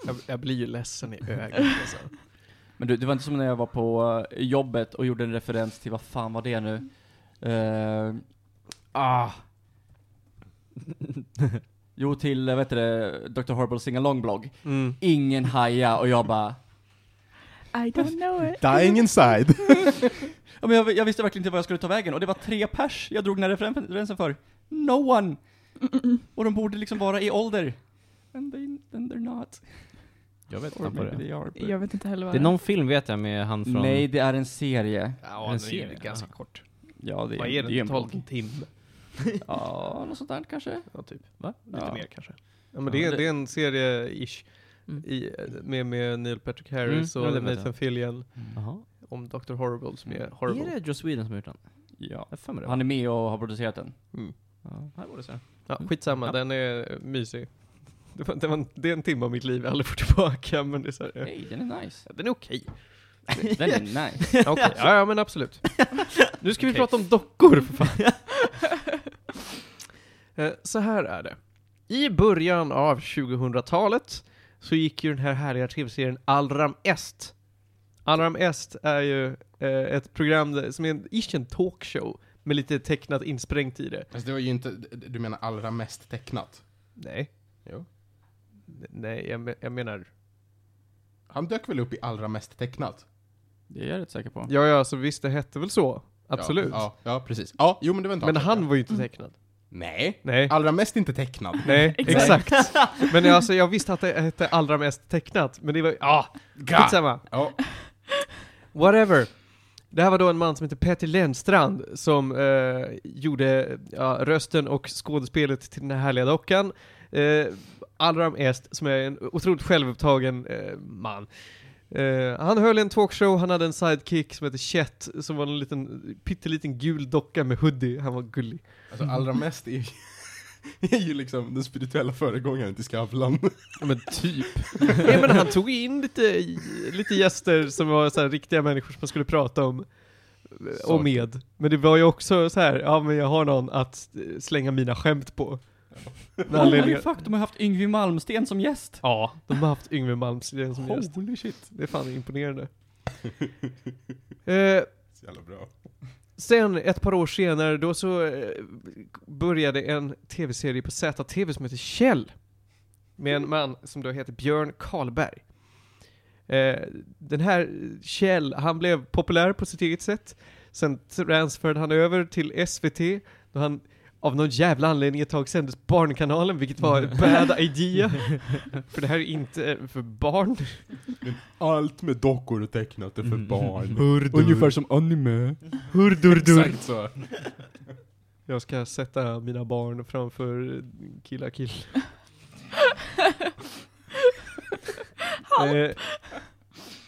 Jag, jag blir ju ledsen i ögat. Alltså. Men du, det var inte som när jag var på eh, jobbet och gjorde en referens till, vad fan var det nu? Eh, ah. Jo, till, eh, vad heter det, Dr. Horrible Sing Along blogg. Mm. Ingen haja och jag bara, I don't know it. Dying inside. ja, men jag, jag visste verkligen inte vad jag skulle ta vägen och det var tre pers jag drog den här referensen för. No one! Och de borde liksom vara i ålder. And, they, and they're not. Jag vet Or inte vad maybe det är. they are. but- Jag vet inte heller vad Det är någon film vet jag med han från... Nej, det är en serie. Ja, En den är ju serie, ganska ja. kort. Ja, det är, Vad är det är det? en Totalt en blogg. timme? Ja, något sånt där kanske. Ja, typ. Va? Lite Ja. mer kanske. Ja, men Ja, det, är, det- det är en serie-ish. Mm. I, med, med Neil Patrick Harris Mm, ja, det och vet jag. Nathan Fillion Jaha. om Dr. Horrible som är Är horrible. det Joss Whedon som har gjort den? Ja. Jag har för mig det. Han är med och har producerat den. Mm. Ja, här borde jag säga. Ja, skitsamma, Ja. den är mysig. Det, var, det, var, det är en timme av mitt liv jag aldrig får tillbaka, men det är så här, ja. Hej, den är nice. Den är okej. Den är nice. Ja, okej. ja, ja, men absolut. Nu ska vi prata om dockor, för fan. Eh, så här är det. I början av 2000-talet så gick ju den här härliga tv-serien Allram Est. Allram Est är ju eh, ett program där- som är en, ish en talkshow med lite tecknat insprängt i det. Alltså det var ju inte, du menar allra mest tecknat? Nej. Jo. N- Nej, jag, me- jag menar... Han dök väl upp i allra mest tecknat? Det är jag rätt säker på. Ja, ja, alltså visst, det hette väl så. Absolut. Ja, ja, ja precis. Ja, jo men det Mm. var inte Men allra- han var ju inte tecknad. Nej. Nej. Allra mest inte tecknad. Nej, Exakt. exakt. Men jag- alltså, jag visste att det hette allra mest tecknat, men det var ja, skitsamma. Ja. Whatever. Det här var då en man som heter Petter Lennstrand som eh, gjorde ja, rösten och skådespelet till den här härliga dockan. Eh, Allram Est, som är en otroligt självupptagen eh, man. Eh, han höll en talkshow, han hade en sidekick som hette Chet, som var en liten, pytteliten gul docka med hoodie. Han var gullig. Alltså allra mest är ju, är ju liksom den spirituella föregångaren till Skavlan. Ja men typ. Nej men han tog in lite, lite gäster som var så här riktiga människor som man skulle prata om eh, och med. Men det var ju också så här, ja men jag har någon att eh, slänga mina skämt på. Med Holy anledning fuck, de har haft Yngwie Malmsteen som gäst. Ja, de har haft Yngwie Malmsteen som gäst. Holy shit. Det är fan imponerande. Eh, Så jävla bra. Sen ett par år senare då så eh, började en tv-serie på ZTV som heter Kjell. Med en man som då heter Björn Karlberg. Eh, den här Kjell, han blev populär på sitt eget sätt. Sen transferade han över till SVT då han av någon jävla anledning ett tag sändes Barnkanalen, vilket var en bad idea. för det här är inte eh, för barn. Allt med dockor och tecknat är för barn. Mm. Hurdur. som anime. Hurdur-dur. Exakt så. Jag ska sätta mina barn framför Killa Kill. eh,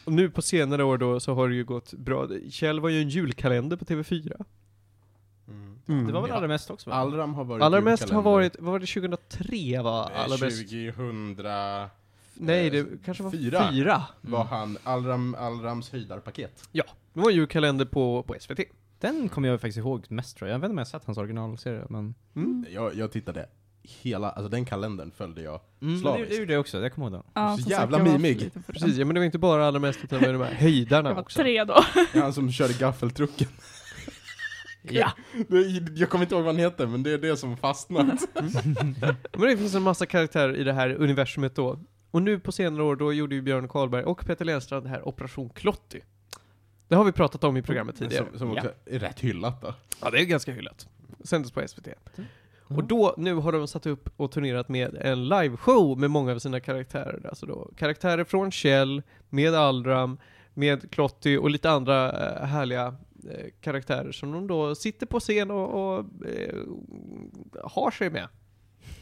och nu på senare år då så har det ju gått bra. Kjell var ju en julkalender på TV4. Det var väl Ja. allra mest också? va? Allram Mm. har varit Mm. Allra mest har julkalender. varit, vad var det 2003 var Eh, allra bäst? 2000 Nej, det kanske var fyra. eh, fyra. fyra. Mm. var han Allram, Allrams höjdarpaket. Det var en julkalender på, på SVT. Den kommer jag faktiskt ihåg mest tror jag. Jag vet inte om jag har sett hans originalserie men... Mm. Jag, jag tittade hela, alltså den kalendern följde jag. Mm, men det, Slaviskt. det gjorde jag också, jag kommer ihåg den. Ja, Så som jävla jag var för mimig. liten för den. Precis, ja, men det var inte bara allra mest utan det var de här höjdarna Jag var också. tre då. Han som körde gaffeltrucken. Ja. Det- Jag kommer inte ihåg vad han heter, men det är det som fastnat. Men det finns en massa karaktärer i det här universumet då. Och nu på senare år då gjorde ju Björn Karlberg och Peter Lennstrand det här Operation Klotty. Det har vi pratat om i programmet tidigare. Som, som också är rätt hyllat då. Ja, det är ganska hyllat. Sändes på SVT. Och då, nu har de satt upp och turnerat med en liveshow med många av sina karaktärer. Alltså då, karaktärer från Kjell, med Aldram, med Klotty och lite andra eh, härliga eh, karaktärer som de då sitter på scen och, och eh, har sig med.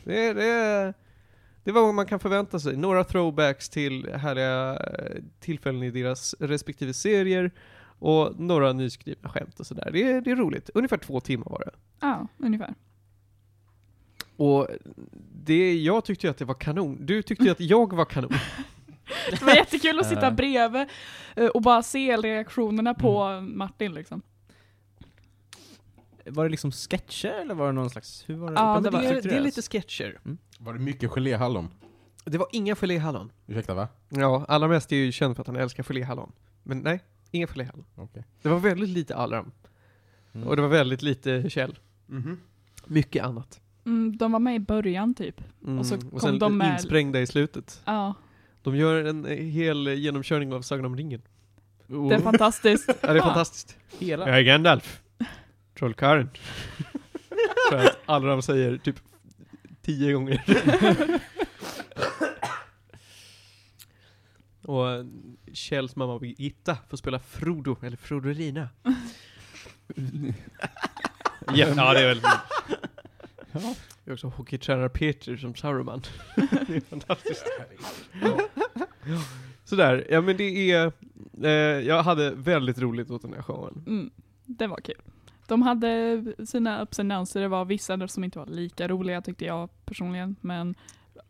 Det, det, det var vad man kan förvänta sig. Några throwbacks till härliga eh, tillfällen i deras respektive serier och några nyskrivna skämt och sådär. Det, det är roligt. Ungefär två timmar var det. Ja, ungefär. Och det, jag tyckte ju att det var kanon. Du tyckte ju att jag var kanon. Det var jättekul att sitta bredvid eh, och bara se reaktionerna på Martin liksom. Var det liksom sketcher eller var det någon slags... Hur var typ det? Ja, Utan det var- strukturerat? sketcher. Var det mycket geléhallon? Det var inga geléhallon. Ursäkta va? Ja, allra mest är ju känd för att han älskar geléhallon. Men nej, inga geléhallon. Okej. Det var väldigt lite Allram. Mm. Och det var väldigt lite Kjell. Mycket annat. Mm, de var med i början typ. Mm. Och så och kom sen de med- insprängda i slutet. Ja, De gör en eh, hel genomkörning av Sagan om ringen. det är fantastiskt. Ja, det är fantastiskt. Hela? Jag är Gandalf. Trollkarlen. För att Allram säger typ tio gånger. Och eh, Kjells mamma Birgitta får spela Frodo, eller Frodorina. ja, ja, det är väl... Jag är också hockeytränare Peter som Saruman. det är fantastiskt. Ja. Sådär, ja men det är... Eh, jag hade väldigt roligt åt den här showen. Mm, det var kul. De hade sina ups and downs, det var vissa där som inte var lika roliga tyckte jag personligen, men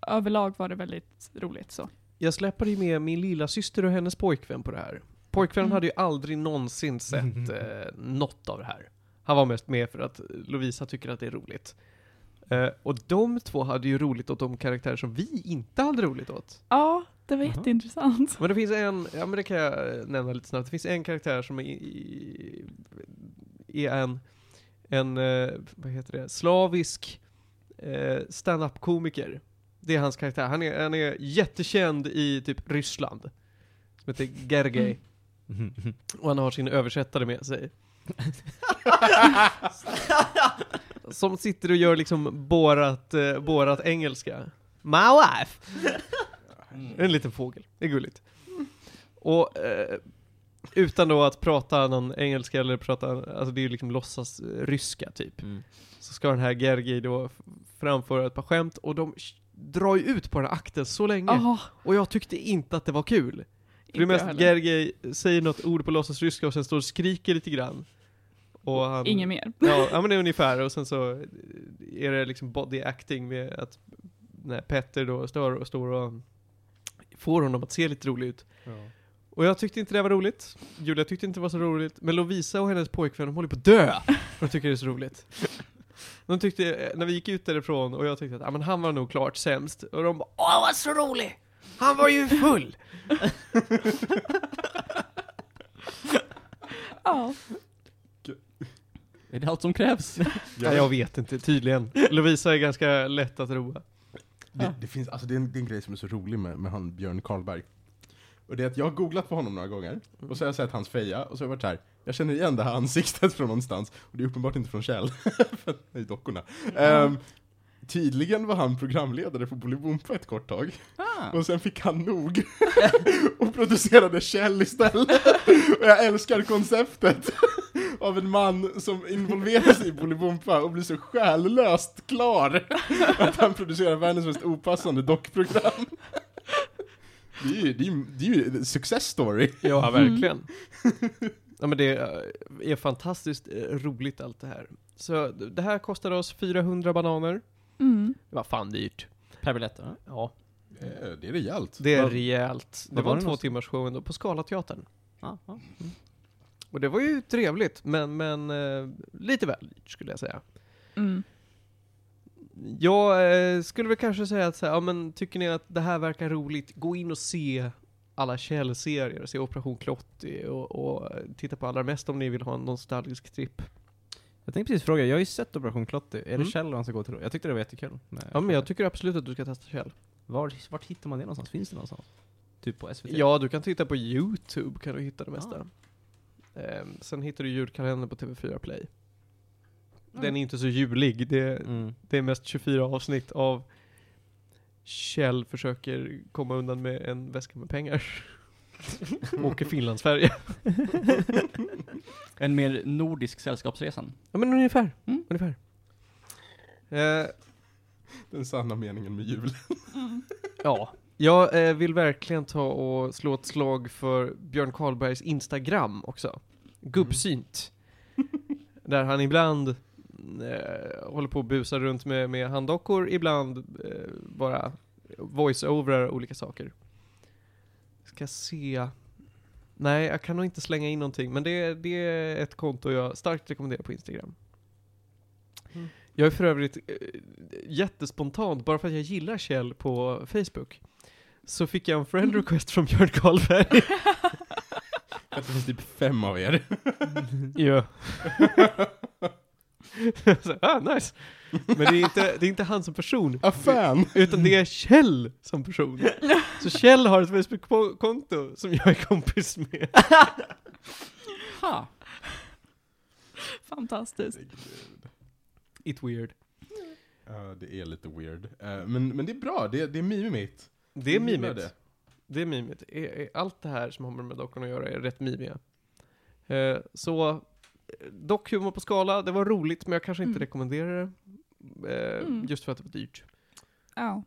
överlag var det väldigt roligt så. Jag släpper ju med min lilla syster och hennes pojkvän på det här. Pojkvännen Mm. hade ju aldrig någonsin sett eh, något av det här. Han var mest med för att Lovisa tycker att det är roligt. Eh, och de två hade ju roligt åt de karaktärer som vi inte hade roligt åt. Ja, det var Jaha. jätteintressant. Men det finns en, ja men det kan jag eh, nämna lite snabbt, det finns en karaktär som är, i- är en, en, eh, vad heter det, slavisk eh, stand-up-komiker. Det är hans karaktär, han är, han är jättekänd i typ Ryssland. Som heter Gergej. Mm. Och han har sin översättare med sig. som sitter och gör liksom borat, eh, borat engelska. My wife! Mm. En liten fågel, det är gulligt. Och eh, utan då att prata någon engelska eller prata, alltså det är ju liksom låtsas eh, ryska typ. Mm. Så ska den här Gergi då f- framföra ett par skämt och de sh- drar ju ut på den här akten så länge. Ja, Och jag tyckte inte att det var kul. För inte det är jag mest heller. Gergi säger något ord på låtsas ryska och sen står och skriker lite grann. Och han, Inget mer. Ja, ja men det är ungefär och sen så eh, är det liksom body acting med att när Petter då står och, står och får honom att se lite rolig ut. Och jag tyckte inte det var roligt. Julia tyckte inte det var så roligt. Men Lovisa och hennes pojkvän, de håller på att dö! De tycker det är så roligt. De tyckte, eh, när vi gick ut därifrån och jag tyckte att ah, men han var nog klart sämst. Och de bara Åh, han var så rolig! Han var ju full! Ja, Är det allt som krävs? Ja, jag vet inte, tydligen. Lovisa är ganska lätt att roa. Det, det, finns, alltså det, är en, det är en grej som är så rolig med, med han Björn Karlberg. Och det är att jag har googlat på honom några gånger, och så har jag sett hans feja, och så har jag varit så här. jag känner igen det här ansiktet från någonstans, och det är uppenbart inte från Kjell, för det är ju dockorna. Ehm, tydligen var han programledare på Bolibompa ett kort tag, Ah. och sen fick han nog, och producerade Kjell istället. och jag älskar konceptet av en man som involveras i Bolibompa och blir så själlöst klar att han producerar världens mest opassande dockprogram. Det är ju, det är, ju- det är ju en success story. Ja, Mm. verkligen. ja, men det eh, är fantastiskt eh, roligt allt det här. Så d- det här kostade oss 400 bananer. mm. Det var fan dyrt. Per biljett? va? Ja. Det är rejält. Det är Vad- rejält. Det vad var, var en det två någonstans? timmars show ändå på Scalateatern. Ja, ja. Och det var ju trevligt, men, men eh, lite väl dyrt skulle jag säga. Mm. Jag eh, skulle väl kanske säga att så här, ja, men tycker ni att det här verkar roligt, gå in och se alla Kjell-serier, se Operation Klotty och, och eh, titta på allra mest om ni vill ha en nostalgisk tripp. Jag tänkte precis fråga, jag har ju sett Operation Klotty. Är det Mm. Kjell han ska gå till? Jag tyckte det var jättekul. med- Ja, men jag tycker absolut att du ska testa Kjell. Var, vart hittar man det någonstans? Finns det någonstans? Typ på SVT? Ja, du kan titta på YouTube kan du Ah. hitta det mesta. Ehm, sen hittar du julkalendern på TV4 Play. Den är inte så julig. Det, Mm. det är mest 24 avsnitt av Kjell försöker komma undan med en väska med pengar. Åker Finland-Sverige. En mer nordisk sällskapsresan. Ja men ungefär. Mm. ungefär. Eh, Den sanna meningen med jul. Mm. ja, jag eh, vill verkligen ta och slå ett slag för Björn Karlbergs Instagram också. Gubbsynt. Där han ibland eh, håller på och busar runt med, med handdockor, ibland eh, bara voice-overar olika saker. Ska se. Nej, jag kan nog inte slänga in någonting, men det, det är ett konto jag starkt rekommenderar på Instagram. Mm. Jag är för övrigt eh, jättespontant, bara för att jag gillar Kjell på Facebook, så fick jag en friend request från Björn Karlberg. Jag tror det finns typ fem av er. Ja. så, ah, nice. Men det är, inte, det är inte han som person, Ah fan! utan det är Kjell som person. Så Kjell har ett Facebook-konto som jag är kompis med. Ha! Fantastiskt. It weird. Ja, det är lite weird. Eh, men, men det är bra, det, det är mimigt. Det är Jag gillar mimigt. Det. är mimigt. E- e- Allt det här som har med de här dockorna att göra är rätt mimiga. Eh, så, eh, dockhumor på skala, det var roligt men jag kanske inte Mm. rekommenderar det. Eh, Mm. Just för att det var dyrt. Ja.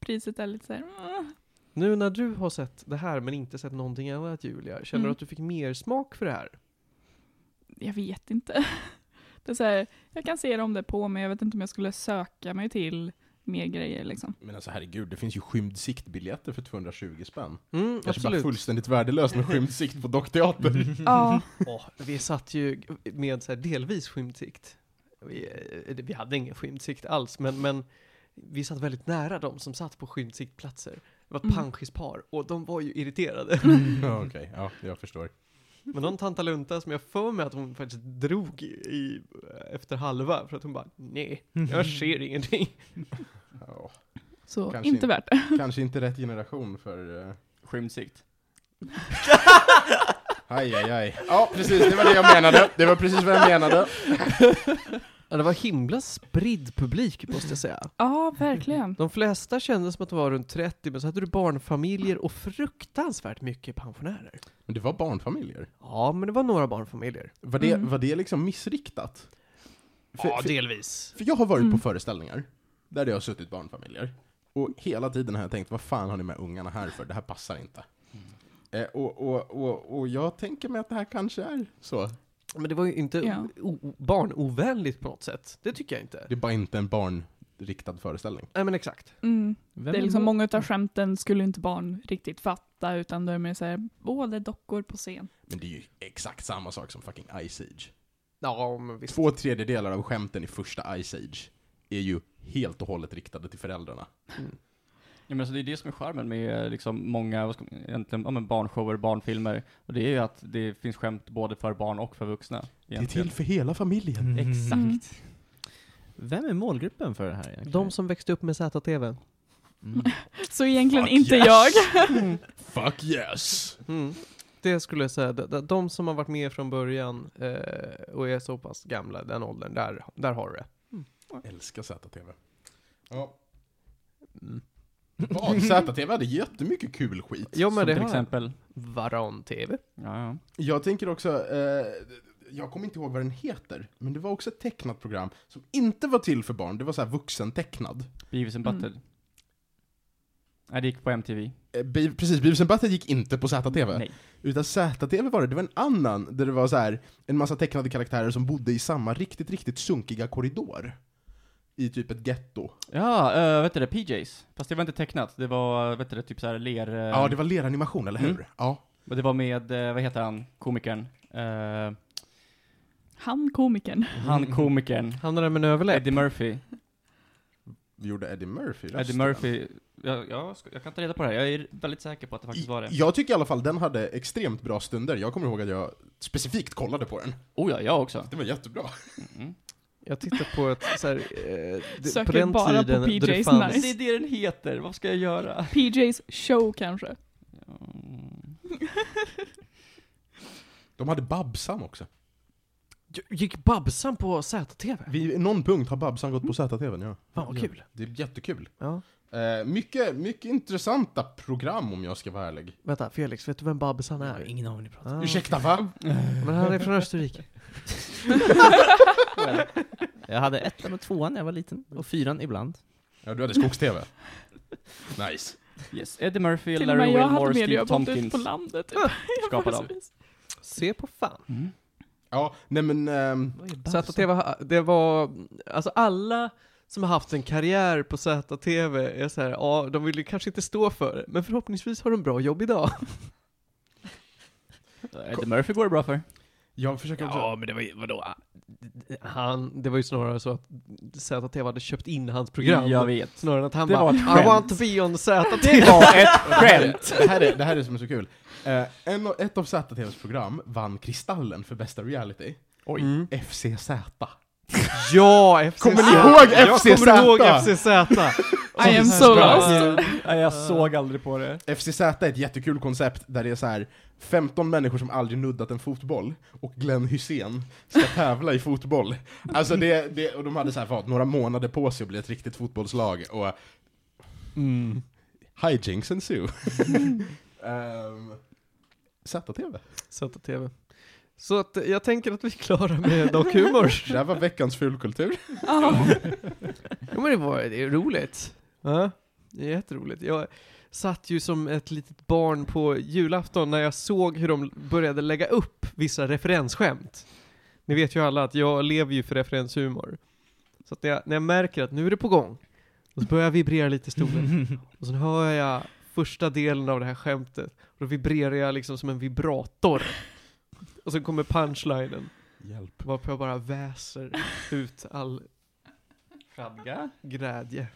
Priset är lite såhär... mm. Nu när du har sett det här men inte sett någonting annat Julia, känner du Mm. att du fick mer smak för det här? Jag vet inte. Det är så här, jag kan se det om det är på men jag vet inte om jag skulle söka mig till mer grejer liksom. Men alltså herregud, det finns ju skymd siktbiljetter för 220 spänn. Mm, Kanske absolut. bara fullständigt värdelöst med skymd sikt på dockteater. Ja. Åh, vi satt ju med så här delvis skymd sikt. Vi, eh, vi hade ingen skymd sikt alls, men, men vi satt väldigt nära de som satt på skymd siktplatser. Det var ett Mm. panskispar och de var ju irriterade. ja, Okej, ja, jag förstår. Men någon tanta Lunta som jag för mig att hon faktiskt drog i, i, efter halva för att hon bara nej, jag ser ingenting. Ja, Så Kanske inte inte. värt det. kanske inte rätt generation för... eh, Skymd sikt. Aj, aj, aj. Ja, precis, det var det jag menade. Det var precis vad jag menade. Ja, det var himla spridd publik måste jag säga. Ja, verkligen. De flesta kände som att de var runt 30, men så hade du barnfamiljer och fruktansvärt mycket pensionärer. Men det var barnfamiljer. Ja, men det var några barnfamiljer. Var det, Mm. var det liksom missriktat? För, för, delvis. för jag har varit Mm. på föreställningar där det har suttit barnfamiljer. Och hela tiden har jag tänkt, vad fan har ni med ungarna här för? Det här passar inte. Eh, och, och, och, och jag tänker mig att det här kanske är så. Men det var ju inte Ja. o- barnovänligt på något sätt. Det tycker jag inte. Det är bara inte en barnriktad föreställning. Nej men exakt. Mm. Vem det är liksom emot? många utav skämten skulle inte barn riktigt fatta utan då är det mer såhär, åh det är dockor på scen. Men det är ju exakt samma sak som fucking Ice Age. Ja, men visst. Två tredjedelar av skämten i första Ice Age är ju helt och hållet riktade till föräldrarna. Ja, men alltså det är det som är charmen med liksom många vad ska, man- egentligen, ja, men barnshower, barnfilmer. Och det är ju att det finns skämt både för barn och för vuxna. egentligen. för hela familjen. Exakt. Mm. Vem är målgruppen för det här egentligen? De som växte upp med ZTV. Mm. Så egentligen Fuck inte yes. jag. Mm. Fuck yes! Mm. Det skulle jag säga, de, de- de som har varit med från början eh, och är så pass gamla, den åldern, där, där har du det. Älskar ZTV. Ja. Mm. Vad? ZTV hade jättemycket kul skit. Ja men Som det till har jag. exempel. Varan-TV. Ja, ja. Jag tänker också, eh, jag kommer inte ihåg vad den heter, men det var också ett tecknat program som inte var till för barn, det var så här vuxentecknad. Beavis and Mm. Butthead. Nej, det gick på MTV. Eh, Be- precis, Beavis and Butthead gick inte på ZTV. Nej. Utan ZTV var det, det var en annan, där det var så här en massa tecknade karaktärer som bodde i samma riktigt, riktigt sunkiga korridor. I typ ett getto. Ja, uh, vet du det, PJs. Fast det var inte tecknat, det var, vet du det, typ såhär ler... eh, Ja, det var leranimation, eller hur? Mm. Ja. och det var med, eh, vad heter han, komikern? Eh, Han komikern. han Mm. komikern. Han där med en överläpp. Eddie Murphy. Vi gjorde Eddie Murphy Eddie Murphy. Jag, jag, ska- jag kan ta reda på det här, jag är väldigt säker på att det faktiskt var det. Jag tycker i alla fall den hade extremt bra stunder. Jag kommer ihåg att jag specifikt kollade på den. Oh ja, jag också. Det var jättebra. Mm. Jag tittar på ett så här, eh, det- på Söker den bara på tiden då det PJs fanns... nice. Det är det den heter, vad ska jag göra? PJs show kanske. Mm. De hade Babsam också. Gick Babsan på ZTV? Vid någon punkt har Babsan gått på ZTVn, ja. Fan vad kul. Det är jättekul. Ja. Eh, mycket, mycket intressanta program om jag ska vara ärlig. Vänta, Felix, vet du vem Babsan är? Ingen aning. Ah, Ursäkta va? Men han är från Österrike. Jag hade ettan och tvåan när jag var liten, och fyran ibland. Ja, du hade skogs-TV. nice. Yes. Eddie Murphy, Till och med Larry jag hade Wilmore, mer, jag Steve har bott ute Tompkins på landet. Typ. skapade dem. Se på fan. Mm. Ja, nej men... ehm, ZTV, ha- det var, alltså alla som har haft en karriär på ZTV är så här, ja, de vill ju kanske inte stå för det, men förhoppningsvis har de bra jobb idag. Eddie Murphy går det bra för. jag försöker också... Ja, men det var ju, vadå? Han, det var ju snarare så att ZTV hade köpt in hans program. Jag vet. Snarare än att han Det var bara, ett I skämt." want to be on ZTV. Det var ett Det här är- skämt! Det här är det, här är som är så kul. Eh, en, av- ett av ZTVs program vann Kristallen för bästa reality. Oj. Eh, FCZ. Mm. Ja, FCZ! Kommer ni ihåg Jag kommer ihåg FCZ? FCZ! I am so lost. eh, Nej, jag såg aldrig på det. FCZ är ett jättekul koncept där det är så här 15 människor som aldrig nuddat en fotboll och Glenn Hussein ska tävla i fotboll. Alltså det, det, och de hade så här, vad, några månader på sig att bli ett riktigt fotbollslag och Mm. hijinks ensue. um, ZTV. ZTV. Så att eh, jag tänker att vi är klara med dokumor. Det här var veckans fulkultur. Ja. Jo men det var det är roligt. Ja, det är jätteroligt. Jag satt ju som ett litet barn på julafton när jag såg hur de började lägga upp vissa referensskämt. Ni vet ju alla att jag lever ju för referenshumor. Så att när jag, när jag märker att nu är det på gång, och så börjar jag vibrera lite i stolen. Och sen hör jag första delen av det här skämtet, och då vibrerar jag liksom som en vibrator. Och sen kommer punchlinen, Hjälp. varpå jag bara väser ut all Fradga? glädje.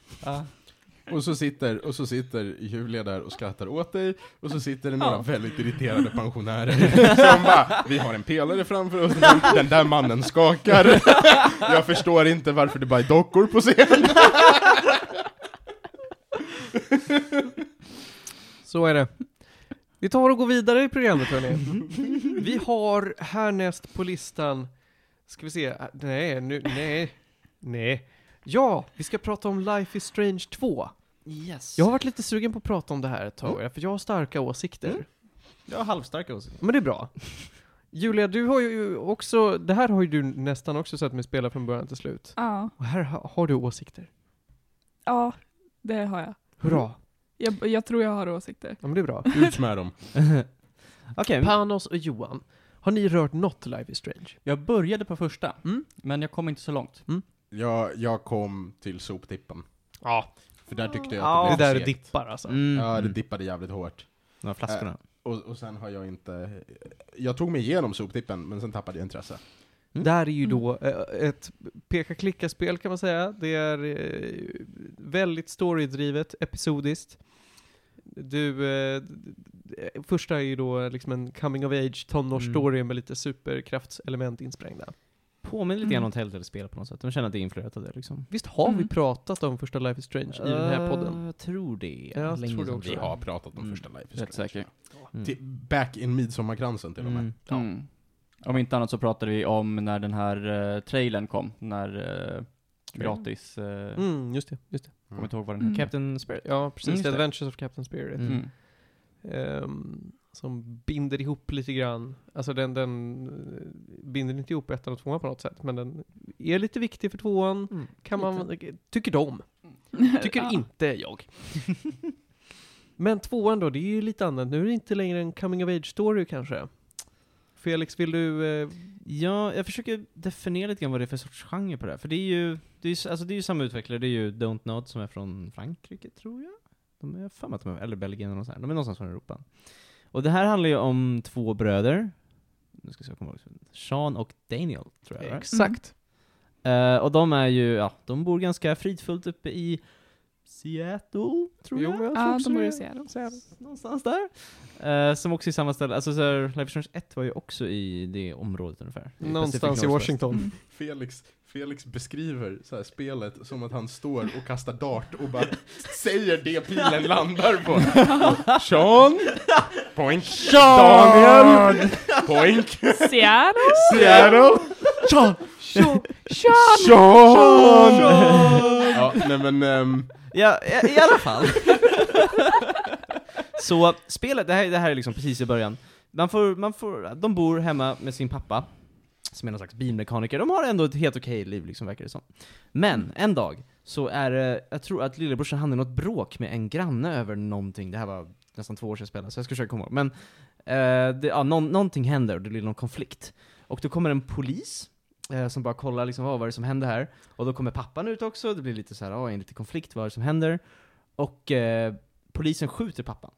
Och så, sitter, och så sitter Julia där och skrattar åt dig, och så sitter det några väldigt irriterade pensionärer som bara Vi har en pelare framför oss, den, den där mannen skakar. Jag förstår inte varför det bara är dockor på scen. Så är det. Vi tar och går vidare i programmet hörni. Vi har härnäst på listan, ska vi se, äh, nej, nu, nej, nej. Ja, vi ska prata om Life is Strange 2. Yes. Jag har varit lite sugen på att prata om det här ett tag, för jag har starka åsikter. Jag har halvstarka åsikter. Men det är bra. Julia, du har ju också, det här har ju du nästan också sett mig spela från början till slut. ja. Och här ha- har du åsikter. ja, det har jag. Hurra! jag. Jag tror jag har åsikter. Ja men det är bra. Ut med dem. Okej, Panos och Johan, har ni rört något Life is Strange? Jag började på första, Mm. men jag kom inte så långt. Jag, jag kom till soptippen. Ja. För där tyckte jag ja att det Äh. det där blev för segt. dippar alltså. mm. Ja, det dippade jävligt hårt. De här flaskorna. Och, och sen har jag inte... Jag tog mig igenom soptippen, men sen tappade jag intresse. Mm. Där är ju Mm. då eh, ett peka-klicka-spel kan man säga. Det är eh, väldigt storydrivet, episodiskt. Du, eh, d- d- första är ju då liksom en coming of age tonårsstory med lite superkraftselement insprängda. Påminner lite grann Mm. om Telltale-spel på något sätt. De känner att det är influerat av det liksom. Visst har vi Mm. pratat om första Life is Strange i den här podden? Eh, Jag tror det. Ja, typ, jag Länge tror det sedan, också. Vi jag. har pratat om Mm. första Life is Rätt Strange. säker. Mm. Till, back in midsommarkransen till och med. Mm. Mm. Om inte annat så pratade vi om när den här uh, trailern kom, när eh, gratis... eh, Mm, just det. Just Mm, det. Kommer inte ihåg vad den Mm. hette. Captain Spirit. Ja, precis. just det. Adventures of Captain Spirit. Mm. Mm. Ehm, som binder ihop lite grann. Alltså den, den eh, binder inte ihop ettan och tvåan på något sätt, men den är lite viktig för tvåan. Mm. Kan man, eh, tycker de. Tycker Ja. inte jag. Men tvåan då, det är ju lite annat. Nu är det inte längre en coming of age-story kanske. Felix, vill du... Eh, Ja, jag försöker definiera lite grann vad det är för sorts genre på det här. För det är ju, det är, ju- alltså det är ju samma utvecklare, det är ju Don't Nod som är från Frankrike, tror jag. De är för mig att de är, eller Belgien eller något sånt här. De är någonstans från Europa. Och det här handlar ju om två bröder. Nu ska jag se, jag kommer ihåg. Sean och Daniel, tror jag. va? exakt. Eh, och de är ju, ja, de bor ganska fridfullt uppe i Seattle, tror Jo, jag. men jag Ja, tror de bor i det. Seattle. Någonstans där. Eh, som också är samma ställe, alltså så här, Life is Strange 1 var ju också i det området ungefär. I Någonstans Pacific i Northwest. Washington. Mm. Felix, Felix beskriver så här spelet som att han står och kastar dart och bara säger det pilen landar på. Sean! Poink! Daniel! Poink! Mm. Seattle? Seattle! Sean! Sean! Sean! ja, nej men... ehm, Ja, i, i alla fall. så spelet, det här, det här är liksom precis i början. Man får, man får, de bor hemma med sin pappa, som är någon slags bilmekaniker. De har ändå ett helt okej liv liksom, verkar det som. Men, en dag, så är det, jag tror att lillebrorsan hade något bråk med en granne över någonting. Det här var nästan två år sedan jag spelade, så jag ska försöka komma ihåg. Men, eh, det, ja, någon, någonting händer och det blir någon konflikt. Och då kommer en polis, eh, som bara kollar liksom, vad var det som hände här? Och då kommer pappan ut också, det blir lite så här, ja, en lite konflikt, vad är det som händer? Och eh, polisen skjuter pappan.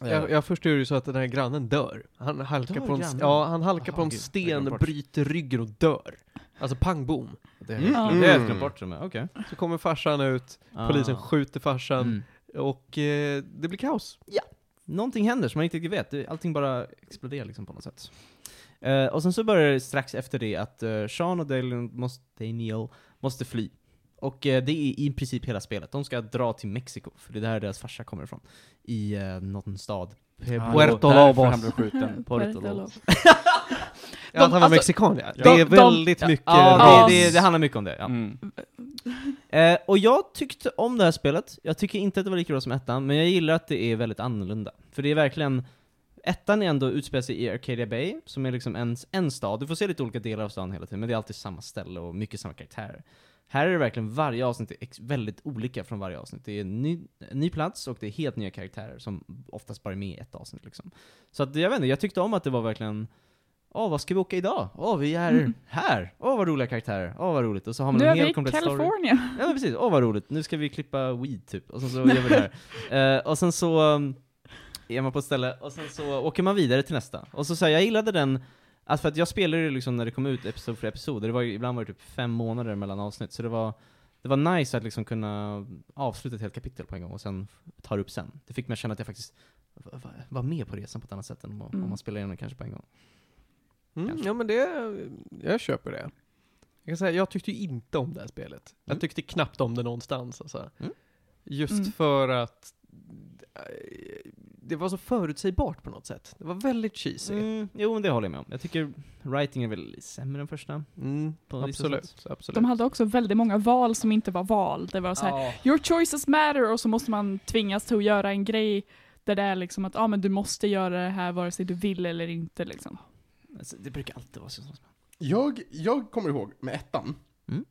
Jag, jag förstår ju så att den här grannen dör. Han halkar Dör på en, grannen? ja, han halkar Jaha, på en gud, jag glömde sten, bort. bryter ryggen och dör. Alltså pang bom. Det Mm. har jag glömt bort till och med, okej. Så kommer farsan ut, Mm. polisen Ah. skjuter farsan Mm. och eh, det blir kaos. Någonting händer som man inte riktigt vet, Det- allting bara exploderar liksom på något sätt. Eh, och sen så börjar det strax efter det att eh, Sean och Daniel måste, Daniel måste fly. Och eh, det är i princip hela spelet. De ska dra till Mexiko, för det är där deras farsa kommer ifrån. I eh, någon stad. Puerto Därför Lobos. han blev skjuten. Puerto Puerto Lobos. Lobos. Ja, att han var alltså- mexikan ja. de- Det är de- väldigt mycket Ja, Ja. det, det, det handlar mycket om det. Ja. Mm. Eh, och jag tyckte om det här spelet, jag tycker inte att det var lika bra som ettan, men jag gillar att det är väldigt annorlunda. För det är verkligen, ettan är ändå utspelar sig i Arcadia Bay, som är liksom en, en stad, du får se lite olika delar av stan hela tiden, men det är alltid samma ställe och mycket samma karaktärer. Här är det verkligen varje avsnitt är ex- väldigt olika från varje avsnitt. Det är en ny, en ny plats och det är helt nya karaktärer som oftast bara är med i ett avsnitt liksom. Så att, jag vet inte, jag tyckte om att det var verkligen Åh, vad ska vi åka idag? Åh, vi är Mm. här! Åh, vad roliga karaktärer! Åh, vad roligt! Och så har man Nu en är helt vi i komplett story. Kalifornien. Ja men precis, åh vad roligt, nu ska vi klippa weed typ, och sen så gör vi det här. Eh, och sen så um, är man på ett ställe, och sen så åker man vidare till nästa. Och så, så här, jag gillade den, att för att jag spelade det liksom när det kom ut episod för episod, det var ju, ibland var det typ fem månader mellan avsnitt, så det var det var nice att liksom kunna avsluta ett helt kapitel på en gång och sen ta det upp sen. Det fick mig att känna att jag faktiskt var- var- var med på resan på ett annat sätt än om, om Mm. man spelar igenom det kanske på en gång. Mm, ja men det, jag köper det. Jag kan säga, jag tyckte ju inte om det här spelet. Jag Mm. tyckte knappt om det någonstans alltså. Mm. Just Mm. för att eh, det var så förutsägbart på något sätt. Det var väldigt cheesy. Mm, jo men det håller jag med om. Jag tycker writing är väl sämre än första. Mm, På vissa absolut, absolut. De hade också väldigt många val som inte var val. Det var så här, your choices matter och så måste man tvingas till att göra en grej där det är liksom att ah, men du måste göra det här vare sig du vill eller inte liksom. Alltså, det brukar alltid vara så. Jag, jag kommer ihåg med ettan, Mm.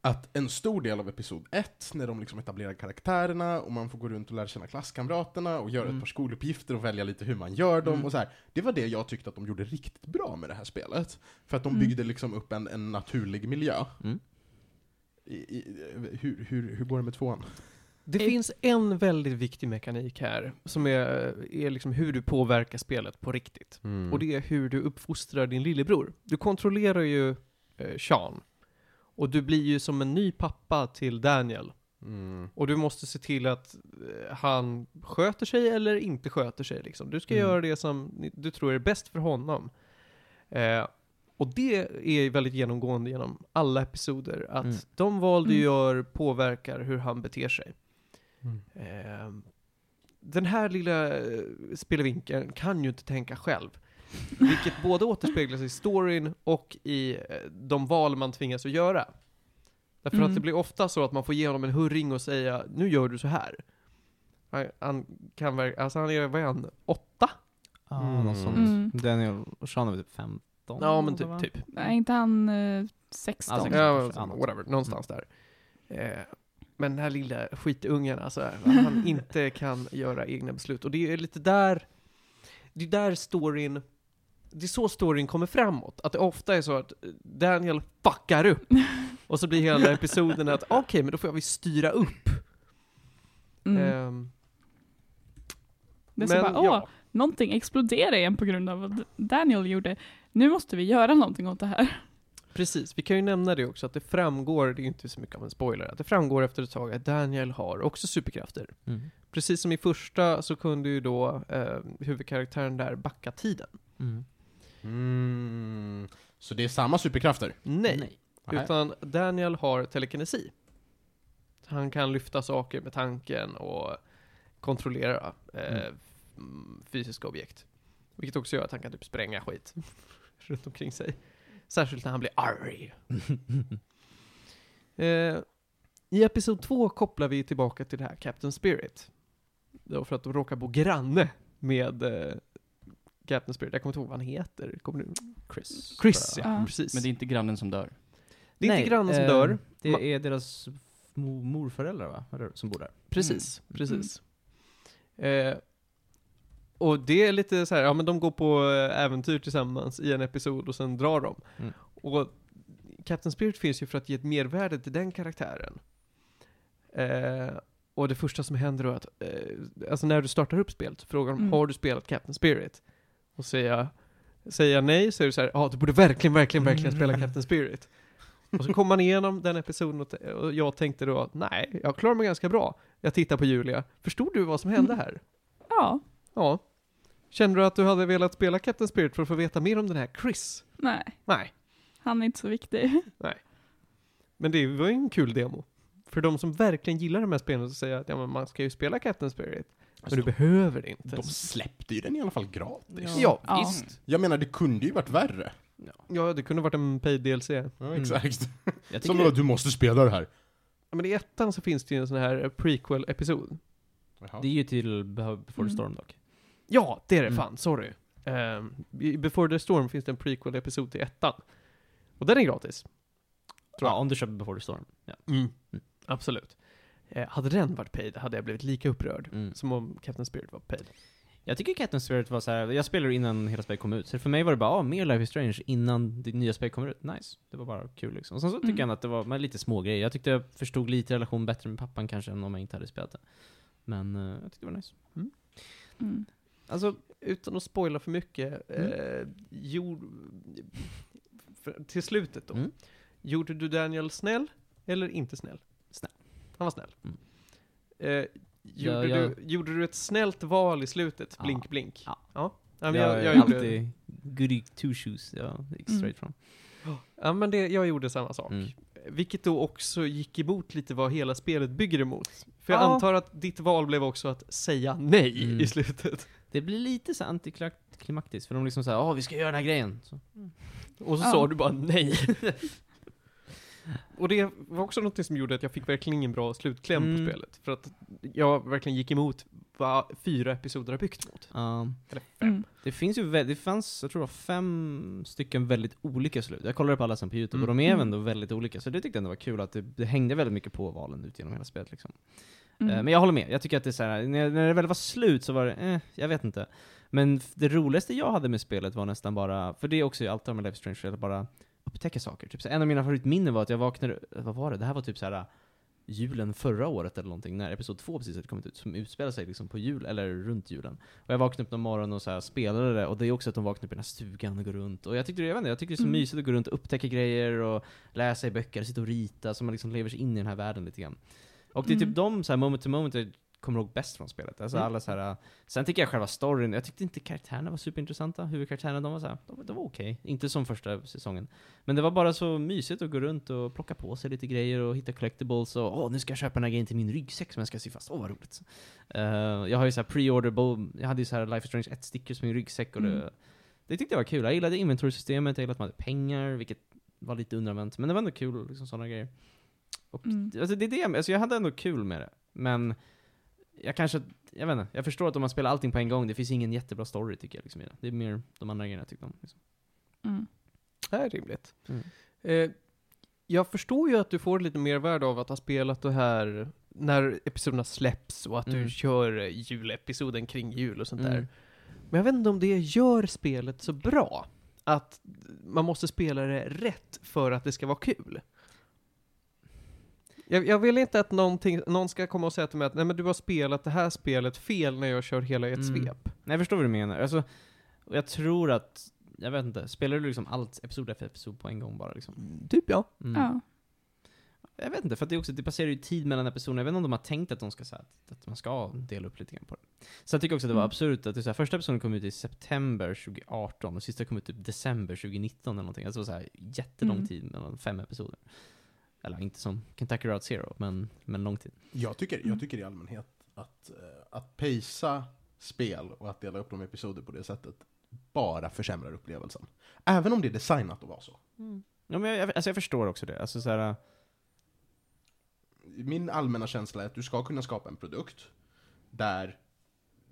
att en stor del av episod ett, när de liksom etablerar karaktärerna och man får gå runt och lära känna klasskamraterna och göra Mm. ett par skoluppgifter och välja lite hur man gör dem Mm. och så här. Det var det jag tyckte att de gjorde riktigt bra med det här spelet. För att de Mm. byggde liksom upp en, en naturlig miljö. Mm. I, i, hur, hur, hur går det med tvåan? Det Eh. finns en väldigt viktig mekanik här som är, är liksom hur du påverkar spelet på riktigt. Mm. Mm. Och det är hur du uppfostrar din lillebror. Du kontrollerar ju eh, Sean. Och du blir ju som en ny pappa till Daniel. Mm. Och du måste se till att eh, han sköter sig eller inte sköter sig. Liksom. Du ska Mm. göra det som ni- du tror är bäst för honom. Eh, och det är väldigt genomgående genom alla episoder. Att Mm. de val du Mm. gör påverkar hur han beter sig. Mm. Eh, den här lilla eh, spelvinkeln kan ju inte tänka själv. Vilket både återspeglas i storyn och i eh, de val man tvingas att göra. Därför att Mm. det blir ofta så att man får ge honom en hurring och säga nu gör du så här. Han, han kan verk- alltså han är, vad är han, åtta? Ah, Mm. någon sån. Mm. Daniel och Sean är väl typ 15? Ja men eller vad? typ, typ. Är inte han eh, 16? Alltså, ja. Ja, kanske, ja, något whatever, Mm. någonstans där. Eh, men den här lilla skitungen alltså, att han inte kan göra egna beslut. Och det är lite där, det är där storyn, det är så storyn kommer framåt. Att det ofta är så att Daniel fuckar upp. Och så blir hela episoden att "Ah, okej, men då får jag väl styra upp. mm. Ehm, Det är så bara, åh, ja. någonting exploderar igen på grund av vad Daniel gjorde. Nu måste vi göra någonting åt det här. Precis, vi kan ju nämna det också att det framgår, det är ju inte så mycket av en spoiler, att det framgår efter ett tag att Daniel har också superkrafter. Mm. Precis som i första så kunde ju då eh, huvudkaraktären där backa tiden. Mm. Mm. Så det är samma superkrafter? Nej, Nej. utan Daniel har telekinesi. Han kan lyfta saker med tanken och kontrollera eh, mm. fysiska objekt. Vilket också gör att han kan typ spränga skit runt omkring sig. Särskilt när han blir arg. eh, I episod två kopplar vi tillbaka till det här Captain Spirit. Det var för att de råkar bo granne med eh, Captain Spirit. Jag kommer inte ihåg vad han heter. Kommer du? Chris. Chris, ja. eh, Ja. Precis. Men det är inte grannen som dör. Det är inte grannen som dör. Ma- ehm, Det är deras mo- morföräldrar va? Eller, som bor där. Precis, precis. Eh, och det är lite så här, ja men de går på eh, äventyr tillsammans i en episod och sen drar de. Mm. Och Captain Spirit finns ju för att ge ett mervärde till den karaktären. Eh, och det första som händer då är att, eh, alltså när du startar upp spelet så frågar de, Mm. har du spelat Captain Spirit? Och säger jag, säger jag nej så är det så här, ja du borde verkligen, verkligen, verkligen spela Captain Spirit. Och så kom man igenom den episoden och, t- och jag tänkte då att nej, jag klarar mig ganska bra. Jag tittar på Julia. Förstod du vad som hände här? Ja, Ja. Kände du att du hade velat spela Captain Spirit för att få veta mer om den här Chris? nej. Nej. Han är inte så viktig. Men det var ju en kul demo. För de som verkligen gillar de här spelen så säger jag att ja, men man ska ju spela Captain Spirit. Men du behöver det inte. De släppte ju den i alla fall gratis. Ja, Ja. visst. Jag menar, det kunde ju varit värre. Ja, det kunde varit en paid DLC. Ja, Mm. exakt. Jag Som tycker- du måste spela det här. Ja, men i ettan så finns det ju en sån här eh, prequel-episod. Det är ju till Beho- Before the Mm. Storm dock. Ja, det är det Mm. fan, sorry. Ehm, i Before the Storm finns det en prequel-episod till ettan. Och den är gratis. Ja, om du köper Before the Storm. Ja. Mm. Absolut. Eh, hade den varit paid hade jag blivit lika upprörd Mm. som om Captain Spirit var paid. Jag tycker Captain Spirit var så här. jag spelade innan hela spelet kom ut, så för mig var det bara ah, mer Life is Strange innan det nya spelet kommer ut. Nice. Det var bara kul liksom. Och sen så tycker Mm. jag att det var men lite smågrejer. Jag tyckte jag förstod lite relation bättre med pappan kanske än om jag inte hade spelat det. Men eh, jag tyckte det var nice. Mm. Alltså, utan att spoila för mycket, Mm. eh, gjorde, för, till slutet då, Mm. gjorde du Daniel snäll eller inte snäll? Snäll. Han var snäll. Mm. Eh, gjorde, jag- Du, gjorde du ett snällt val i slutet? Ja. Blink, blink. Ja. Ja, men jag, jag, är gjorde, alltid goody two shoes. Jag gick Mm. straight from. ja, men det, jag gjorde samma sak. Mm. Vilket då också gick emot lite vad hela spelet bygger emot. För jag Ja. antar att ditt val blev också att säga nej Mm. i slutet. Det blir lite så antiklimaktiskt, för de liksom såhär ah vi ska göra den här grejen. Så. Och så Ja. sa du bara nej. Och det var också något som gjorde att jag fick verkligen ingen bra slutkläm Mm. på spelet. För att jag verkligen gick emot vad fyra episoder har byggt mot. Um, Eller fem. Mm. Det finns ju, vä- det fanns, jag tror det var fem stycken väldigt olika slut. Jag kollade på alla sen på youtube, Mm. och de är Mm. även då väldigt olika. Så det tyckte jag ändå var kul, att det, det hängde väldigt mycket på valen ut genom hela spelet liksom. Mm. Eh, Men jag håller med, jag tycker att det är så här, när, när det väl var slut så var det, eh, jag vet inte. Men f- det roligaste jag hade med spelet var nästan bara, för det är också allt med Life is Strange, att bara upptäcka saker. Typ så här, en av mina favoritminnen var att jag vaknade, vad var det? Det här var typ så här julen förra året eller någonting, när episod två precis hade kommit ut, som utspelar sig liksom på jul, eller runt julen. Och jag vaknade upp någon morgon och så här spelade det, och det är också att de vaknar upp i den här stugan och går runt. Och jag tyckte det, jag vet inte, jag tycker det är så Mm. mysigt att gå runt och upptäcka grejer och läsa i böcker, sitta och rita, så man liksom lever sig in i den här världen lite grann. Och det är Mm. typ de så här moment to moment jag kommer ihåg bäst från spelet. Alltså Mm. alla så här, äh, sen tycker jag själva storyn, jag tyckte inte karaktärerna var superintressanta. Huvudkaraktärerna, de var så här, de, de var okej. Inte som första säsongen. Men det var bara så mysigt att gå runt och plocka på sig lite grejer och hitta collectibles och åh, nu ska jag köpa den här grejen till min ryggsäck som jag ska sy fast. Åh, vad roligt. Eh, jag har ju så här pre-order, bo- jag hade ju så här Life is Strange 1-stickers på min ryggsäck och Mm. det, det tyckte jag var kul. Jag gillade inventory-systemet, jag gillade att man hade pengar, vilket var lite undanvänt. Men det var ändå kul, liksom sådana grejer. Och Mm. Alltså det är det, alltså jag hade ändå kul med det. Men jag kanske, jag vet inte, jag förstår att om man spelar allting på en gång, det finns ingen jättebra story tycker jag liksom i det. Det är mer de andra grejerna jag tyckte om. Liksom. Mm. Det här är rimligt. Mm. Eh, jag förstår ju att du får lite mer värde av att ha spelat det här när episoderna släpps och att Mm. du kör eh, julepisoden kring jul och sånt där. Mm. Men jag vet inte om det gör spelet så bra. Att man måste spela det rätt för att det ska vara kul. Jag, jag vill inte att någonting, någon ska komma och säga till mig att nej men du har spelat det här spelet fel när jag kör hela i ett Mm. svep. Nej, jag förstår vad du menar. Alltså, och jag tror att, jag vet inte, spelar du liksom allt episod efter episod på en gång bara liksom? Typ ja. Mm. Ja. Jag vet inte, för att det, är också, det passerar ju tid mellan episoderna. Jag vet inte om de har tänkt att de ska så här, att man ska dela upp lite grann på det. Så jag tycker också att det var Mm. absurt att det, är så här, första episoden kom ut i september 2018 och sista kom ut i december 2019 eller någonting. Alltså det var så här, jättelång Mm. tid mellan fem episoder. Eller inte som Kentucky Route Zero, men, men lång tid. Jag tycker, Mm. jag tycker i allmänhet att, eh, att pacea spel och att dela upp dem i episoder på det sättet bara försämrar upplevelsen. Även om det är designat att vara så. Mm. Ja, men jag, jag, alltså jag förstår också det. Alltså så här, Min allmänna känsla är att du ska kunna skapa en produkt där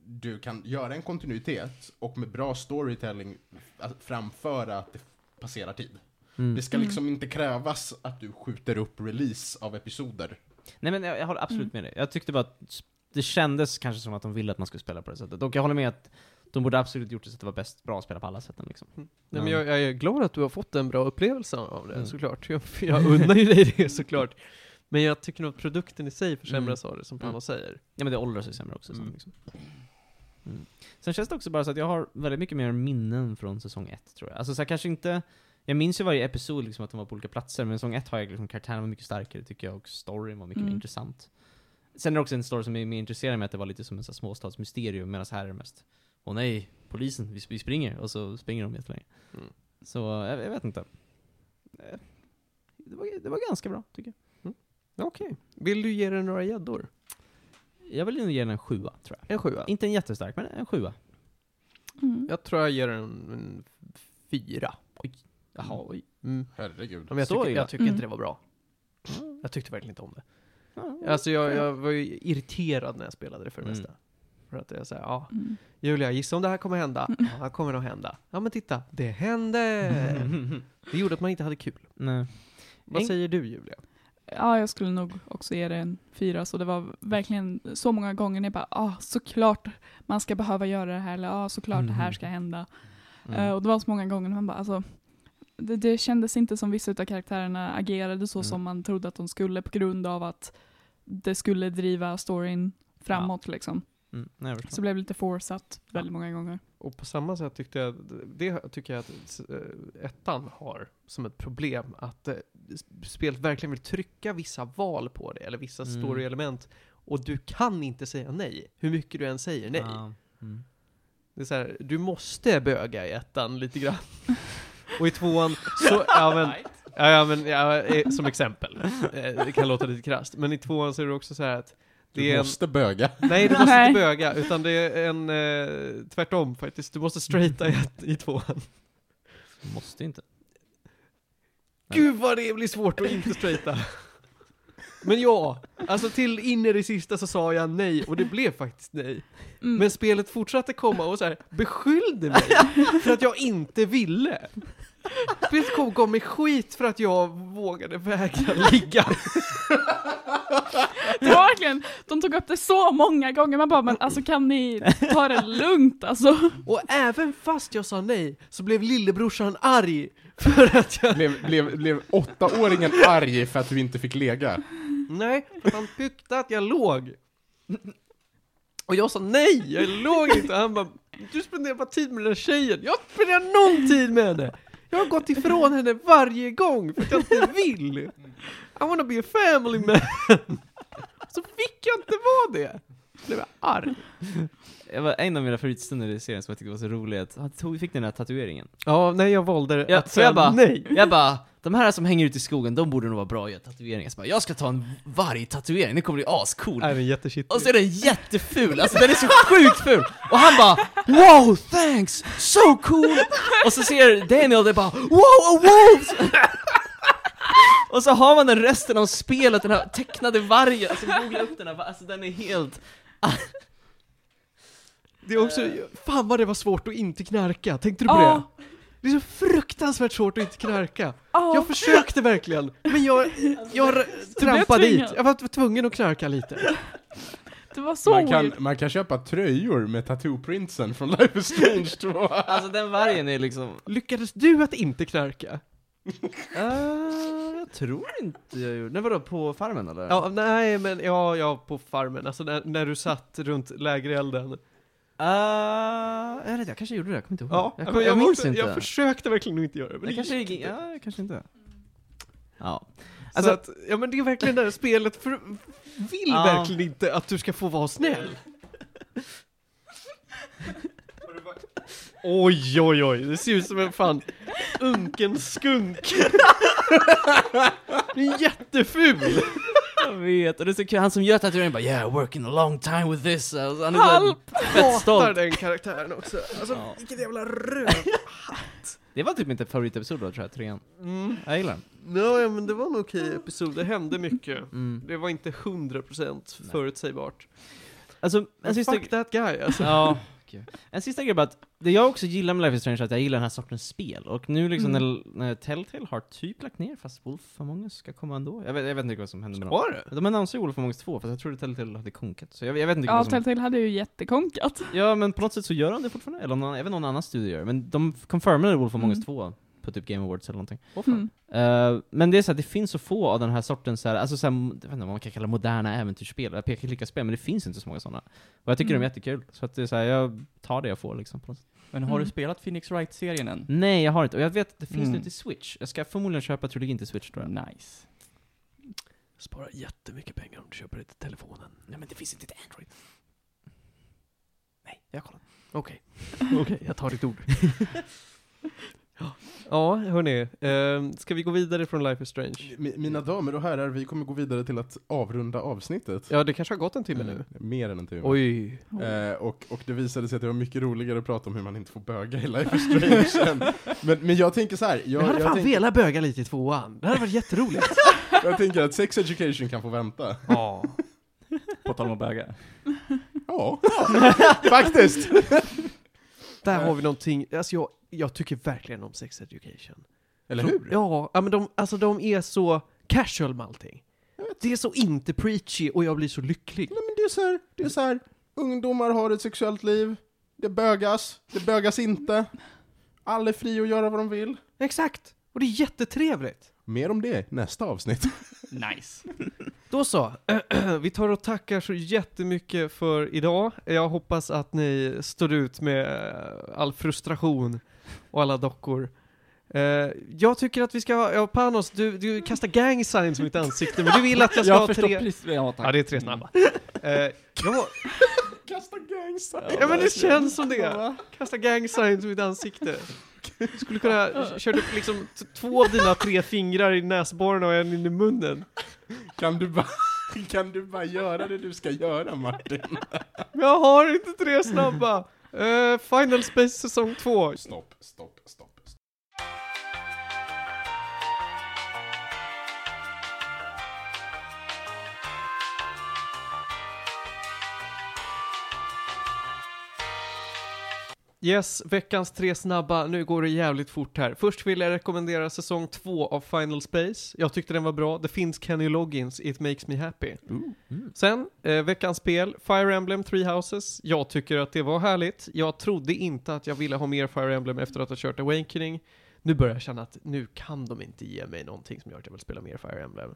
du kan göra en kontinuitet och med bra storytelling att framföra att det passerar tid. Mm. Det Mm. ska liksom inte krävas att du skjuter upp release av episoder. Nej men jag, jag håller absolut med dig. Jag tyckte bara att det kändes kanske som att de ville att man skulle spela på det sättet. Och jag håller med att de borde absolut gjort det så att det var bäst bra att spela på alla sätten liksom. Nej, Ja. men jag, jag är glad att du har fått en bra upplevelse av det Mm. såklart. Jag, jag unnar ju dig det såklart. Men jag tycker nog att produkten i sig försämras av det, som Panna Mm. säger. Ja men det åldrar sig sämre också. Mm. Sen, liksom. mm. sen känns det också bara så att jag har väldigt mycket mer minnen från säsong ett tror jag. Alltså så här, kanske inte, jag minns ju varje episod liksom att de var på olika platser, men säsong ett har jag liksom, karaktären var mycket starkare tycker jag och storyn var mycket mer Mm. intressant. Sen är det också en story som är mer intresserad med att det var lite som en så här, småstadsmysterium, medan här är det mest Åh nej, polisen, vi, vi springer, och så springer de jättelänge. Mm. Så jag, jag vet inte. Eh, Det var, det var ganska bra tycker jag. Mm. Okej. Vill du ge den några gäddor? Jag vill nog ge den en sjua tror jag. En sjua? Inte en jättestark, men en sjua. Mm. Jag tror jag ger den en fyra. Oj. Jaha, oj. Mm. Herregud. Ja, Men jag Så tycker, illa. jag tycker Mm. inte det var bra. Jag tyckte verkligen inte om det. Alltså jag, jag var ju irriterad när jag spelade det för det Mm. mesta. För att jag säger, ja, Mm. Julia, gissa om det här kommer hända? Ja, det här kommer nog hända. Ja, men titta, det hände! Det gjorde att man inte hade kul. Eh. Nej. Vad Eng- säger du, Julia? Ja, jag skulle nog också ge det en fyra, så det var verkligen så många gånger när jag bara, ah, såklart man ska behöva göra det här, eller ah, såklart det här Mhm. ska hända. Mm. Eh, och det var så många gånger när man bara, alltså, det, det kändes inte som vissa av karaktärerna agerade så Mm. som man trodde att de skulle på grund av att det skulle driva storyn framåt liksom. Mm. Nej, jag förstår. Så det blev lite forceat väldigt många gånger. Och på samma sätt tyckte jag, det tycker jag att eh, ettan har som ett problem, att eh, sp- spelet verkligen vill trycka vissa val på det, eller vissa Mm. story-element, och du kan inte säga nej, hur mycket du än säger nej. Ja. Mm. Det är så här, du måste böga i ettan lite grann. Och i tvåan, så, ja men, ja, ja, men ja, eh, som exempel. Eh, Det kan låta lite krasst. Men i tvåan så är det också så här att det Du är en, måste böga. Nej, du måste Nej. inte böga, utan det är en eh, tvärtom faktiskt. Du måste straighta i, ett- i tvåan. Måste inte. Nej. Gud vad det blir svårt att inte straighta. Men ja, alltså till in i det sista så sa jag nej, och det blev faktiskt nej. Mm. Men spelet fortsatte komma och så här beskyllde mig för att jag inte ville. Spelet kom, gav mig skit för att jag vågade vägra ligga. Det var verkligen, de tog upp det så många gånger, man bara, men alltså kan ni ta det lugnt alltså? Och även fast jag sa nej så blev lillebrorsan arg för att jag... Blev, blev, blev åttaåringen arg för att du inte fick lega? Nej, för han tyckte att jag låg. Och jag sa nej, jag låg inte. Och han bara, du spenderar bara tid med den där tjejen. Jag spenderar någon tid med henne. Jag har gått ifrån henne varje gång för att jag inte vill. I wanna be a family man. Så fick jag inte vara det. Blev jag arg. Jag var en av mina favoritstunder i serien som jag tyckte var så rolig att han tog, fick den här tatueringen. Ja, nej jag valde Ja, att så säga jag bara- nej. Jag bara, de här som hänger ute i skogen, de borde nog vara bra att göra tatueringar. Så bara, jag ska ta en vargtatuering, det kommer bli ascool. Nej, men jättekittig. Och så är den jätteful, alltså den är så sjukt ful! Och han bara Wow, thanks! So cool! Och så ser Daniel det bara Wow, a wolf! Och så har man den resten av spelet, den här tecknade vargen, alltså googla upp den här, alltså den är helt... Det är också, fan vad det var svårt att inte knarka, tänkte du på det? Ja, Det är så fruktansvärt svårt att inte knarka. ja. Alltså, Jag försökte verkligen, men jag, jag trampade tvingad. dit. Jag var tvungen att knarka lite. det var så Man kan, weird. man kan köpa tröjor med tattoo-printsen från Life is Strange 2. Alltså den vargen är liksom... Lyckades du att inte knarka? Ah, jag tror inte jag gjorde... Nej vadå, på farmen eller? Ja, nej men ja, ja på farmen, alltså när, när du satt runt lägerelden. Uh, jag, vet, inte, jag kanske gjorde det, jag kommer inte ihåg. Ja, jag, men kom, jag, var minns också- inte. Jag försökte verkligen att inte göra det, men jag det kanske, gick gick- inte. ja, jag kanske inte. Ja. så Alltså- att, ja men det är verkligen det här spelet för, vill Ja. verkligen inte att du ska få vara snäll. Oj, oj, oj, det ser ut som en fan unken skunk. Den är jätteful! Jag vet, och det är så kul, han som gör tatueringen bara 'Yeah, working a long time with this' uh, alltså, han är så Halp! fett Hatar stolt. den karaktären också. Alltså Ja. vilket jävla röv. Det Det var typ min typ favoritepisod då tror jag, trean. Mm. Jag gillar den. Ja, ja, men det var en okej episod. Det hände mycket. Mm. Det var inte 100% Nej. förutsägbart. Alltså, en Men sista, fuck that guy alltså. Typ. ja, gud. en sista grej bara att det jag också gillar med Life is Strange är att jag gillar den här sortens spel. Och nu liksom Mm. när, när Telltale har typ lagt ner, fast Wolf Among Us ska komma ändå. Jag vet, jag vet inte vad som händer med dem. Var det? De annonserade ju Wolf Among Us 2, fast jag trodde Telltale hade konkat. Så jag, jag vet inte Ja, vad som... Telltale hade ju jättekonkat. Ja, men på något sätt så gör de det fortfarande. Eller om någon, även någon annan studio gör det. Men de confirmade Wolf Among Us Mm. 2 på typ Game Awards eller någonting. Mm. Eh, men det är så att det finns så få av den här sortens, så här, alltså så här, jag vet inte vad man kan kalla moderna äventyrsspel, eller peka-klicka-spel, men det finns inte så många sådana. Och jag tycker de Mm. är jättekul, så att det är så här, jag tar det jag får liksom. På något sätt. Men har Mm. du spelat Phoenix Wright-serien än? Nej, jag har inte, och jag vet att det finns Mm. nu till Switch. Jag ska förmodligen köpa trilogin till Switch tror jag. Nice. Sparar jättemycket pengar om du köper det till telefonen. Nej men det finns inte till Android. Nej, jag kollar. Okej. Okej, jag tar ditt ord. ja. ja, hörni. Eh, ska vi gå vidare från Life is Strange? Mi- Mina damer och herrar, vi kommer gå vidare till att avrunda avsnittet. Eh, Ja, det kanske har gått en Mm. timme nu. Mer än en timme. Oj. Eh, och, och det visade sig att det var mycket roligare att prata om hur man inte får böga i Life is Strange än. men, men jag tänker så här. Jag, Jag, hade fan jag, tänk, velat böga lite i tvåan. Det hade varit jätteroligt. jag tänker att sex education kan få vänta. ja. På tal om att böga. Ja, faktiskt. Där har vi någonting. Alltså jag, jag tycker verkligen om sex education. Eller hur? Ja, ja men de, alltså de är så casual med allting. Det är så inte preachy och jag blir så lycklig. Nej, men det är så här, det är så här. Ungdomar har ett sexuellt liv. Det bögas. Det bögas inte. Alla är fria att göra vad de vill. Exakt! Och det är jättetrevligt. Mer om det i nästa avsnitt. Nice. Då så, vi tar och tackar så jättemycket för idag. Jag hoppas att ni står ut med eh, all frustration och alla dockor. Eh, jag tycker att vi ska, ja Panos, du, du kastar gang signs i mitt ansikte, men du vill att jag ska jag ha förstår tre... precis vad jag har Ja, det är tre snabba. Eh, jag, Kasta gangsta. Ja men det känns som det! Kasta gang signs i mitt ansikte. Du skulle kunna köra upp liksom t- två av dina tre fingrar i näsborren och en in i munnen. Kan du bara... Kan du bara göra det du ska göra Martin? Men jag har inte tre snabba! Eh, Final Space säsong 2. Stopp, stopp, stopp. stopp. Yes, veckans tre snabba. Nu går det jävligt fort här. Först vill jag rekommendera säsong 2 av Final Space. Jag tyckte den var bra. Det finns Kenny Loggins, It Makes Me Happy. Mm. Sen, eh, veckans spel, Fire Emblem Three Houses. Jag tycker att det var härligt. Jag trodde inte att jag ville ha mer Fire Emblem efter att ha kört Awakening. Nu börjar jag känna att nu kan de inte ge mig någonting som gör att jag vill spela mer Fire Emblem.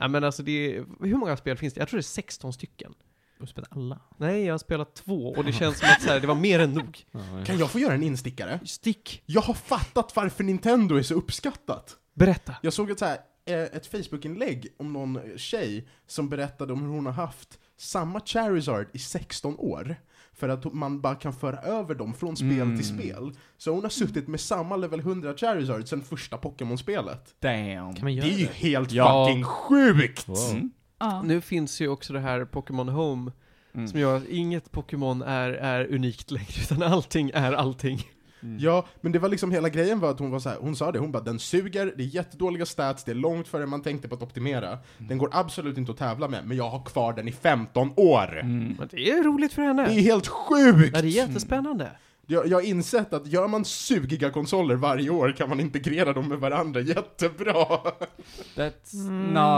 Nej men alltså det är, hur många spel finns det? Jag tror det är 16 stycken. Du spelar alla. Nej, jag har spelat två och det känns som att så här, det var mer än nog. Kan jag få göra en instickare? Stick, Jag har fattat varför Nintendo är så uppskattat. berätta. Jag såg ett, så här, eh, ett Facebook-inlägg om någon tjej som berättade om hur hon har haft samma Charizard i 16 år. För att man bara kan föra över dem från spel Mm. till spel. Så hon har suttit med samma level 100 Charizard sedan första Pokémon-spelet. Damn. Mm. Kan man göra Det är ju det? helt Ja. fucking sjukt! Wow. Ja. Nu finns ju också det här Pokémon Home Mm. som gör att inget Pokémon är, är unikt längre utan allting är allting. Mm. Ja, men det var liksom hela grejen var att hon var så här, hon sa det, hon bara den suger, det är jättedåliga stats, det är långt före man tänkte på att optimera. Den går absolut inte att tävla med, men jag har kvar den i 15 år! Mm. Men det är roligt för henne. Det är helt sjukt! Ja, det är jättespännande. Jag, jag har insett att gör man sugiga konsoler varje år kan man integrera dem med varandra jättebra! Okej, That's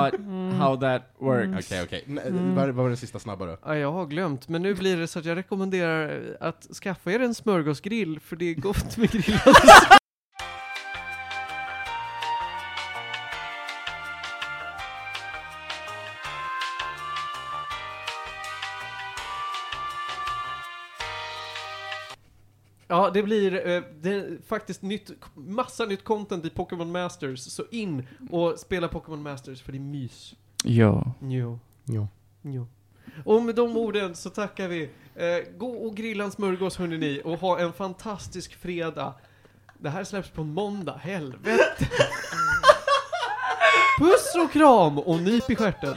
not Mm. how that works. okej. Nej, Vad vad var den sista snabba då? Ja, jag har glömt, men nu blir det så att jag rekommenderar att skaffa er en smörgåsgrill, för det är gott med grillad Ja, det blir eh, det är faktiskt nytt, massa nytt content i Pokémon Masters, så in och spela Pokémon Masters för det är mys. Ja. Jo. Jo. Jo. Och med de orden så tackar vi. Eh, gå och grilla en smörgås hörni ni och ha en fantastisk fredag. Det här släpps på måndag, helvete. Puss och kram och nyp i stjärten.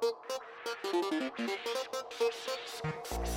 Thank you.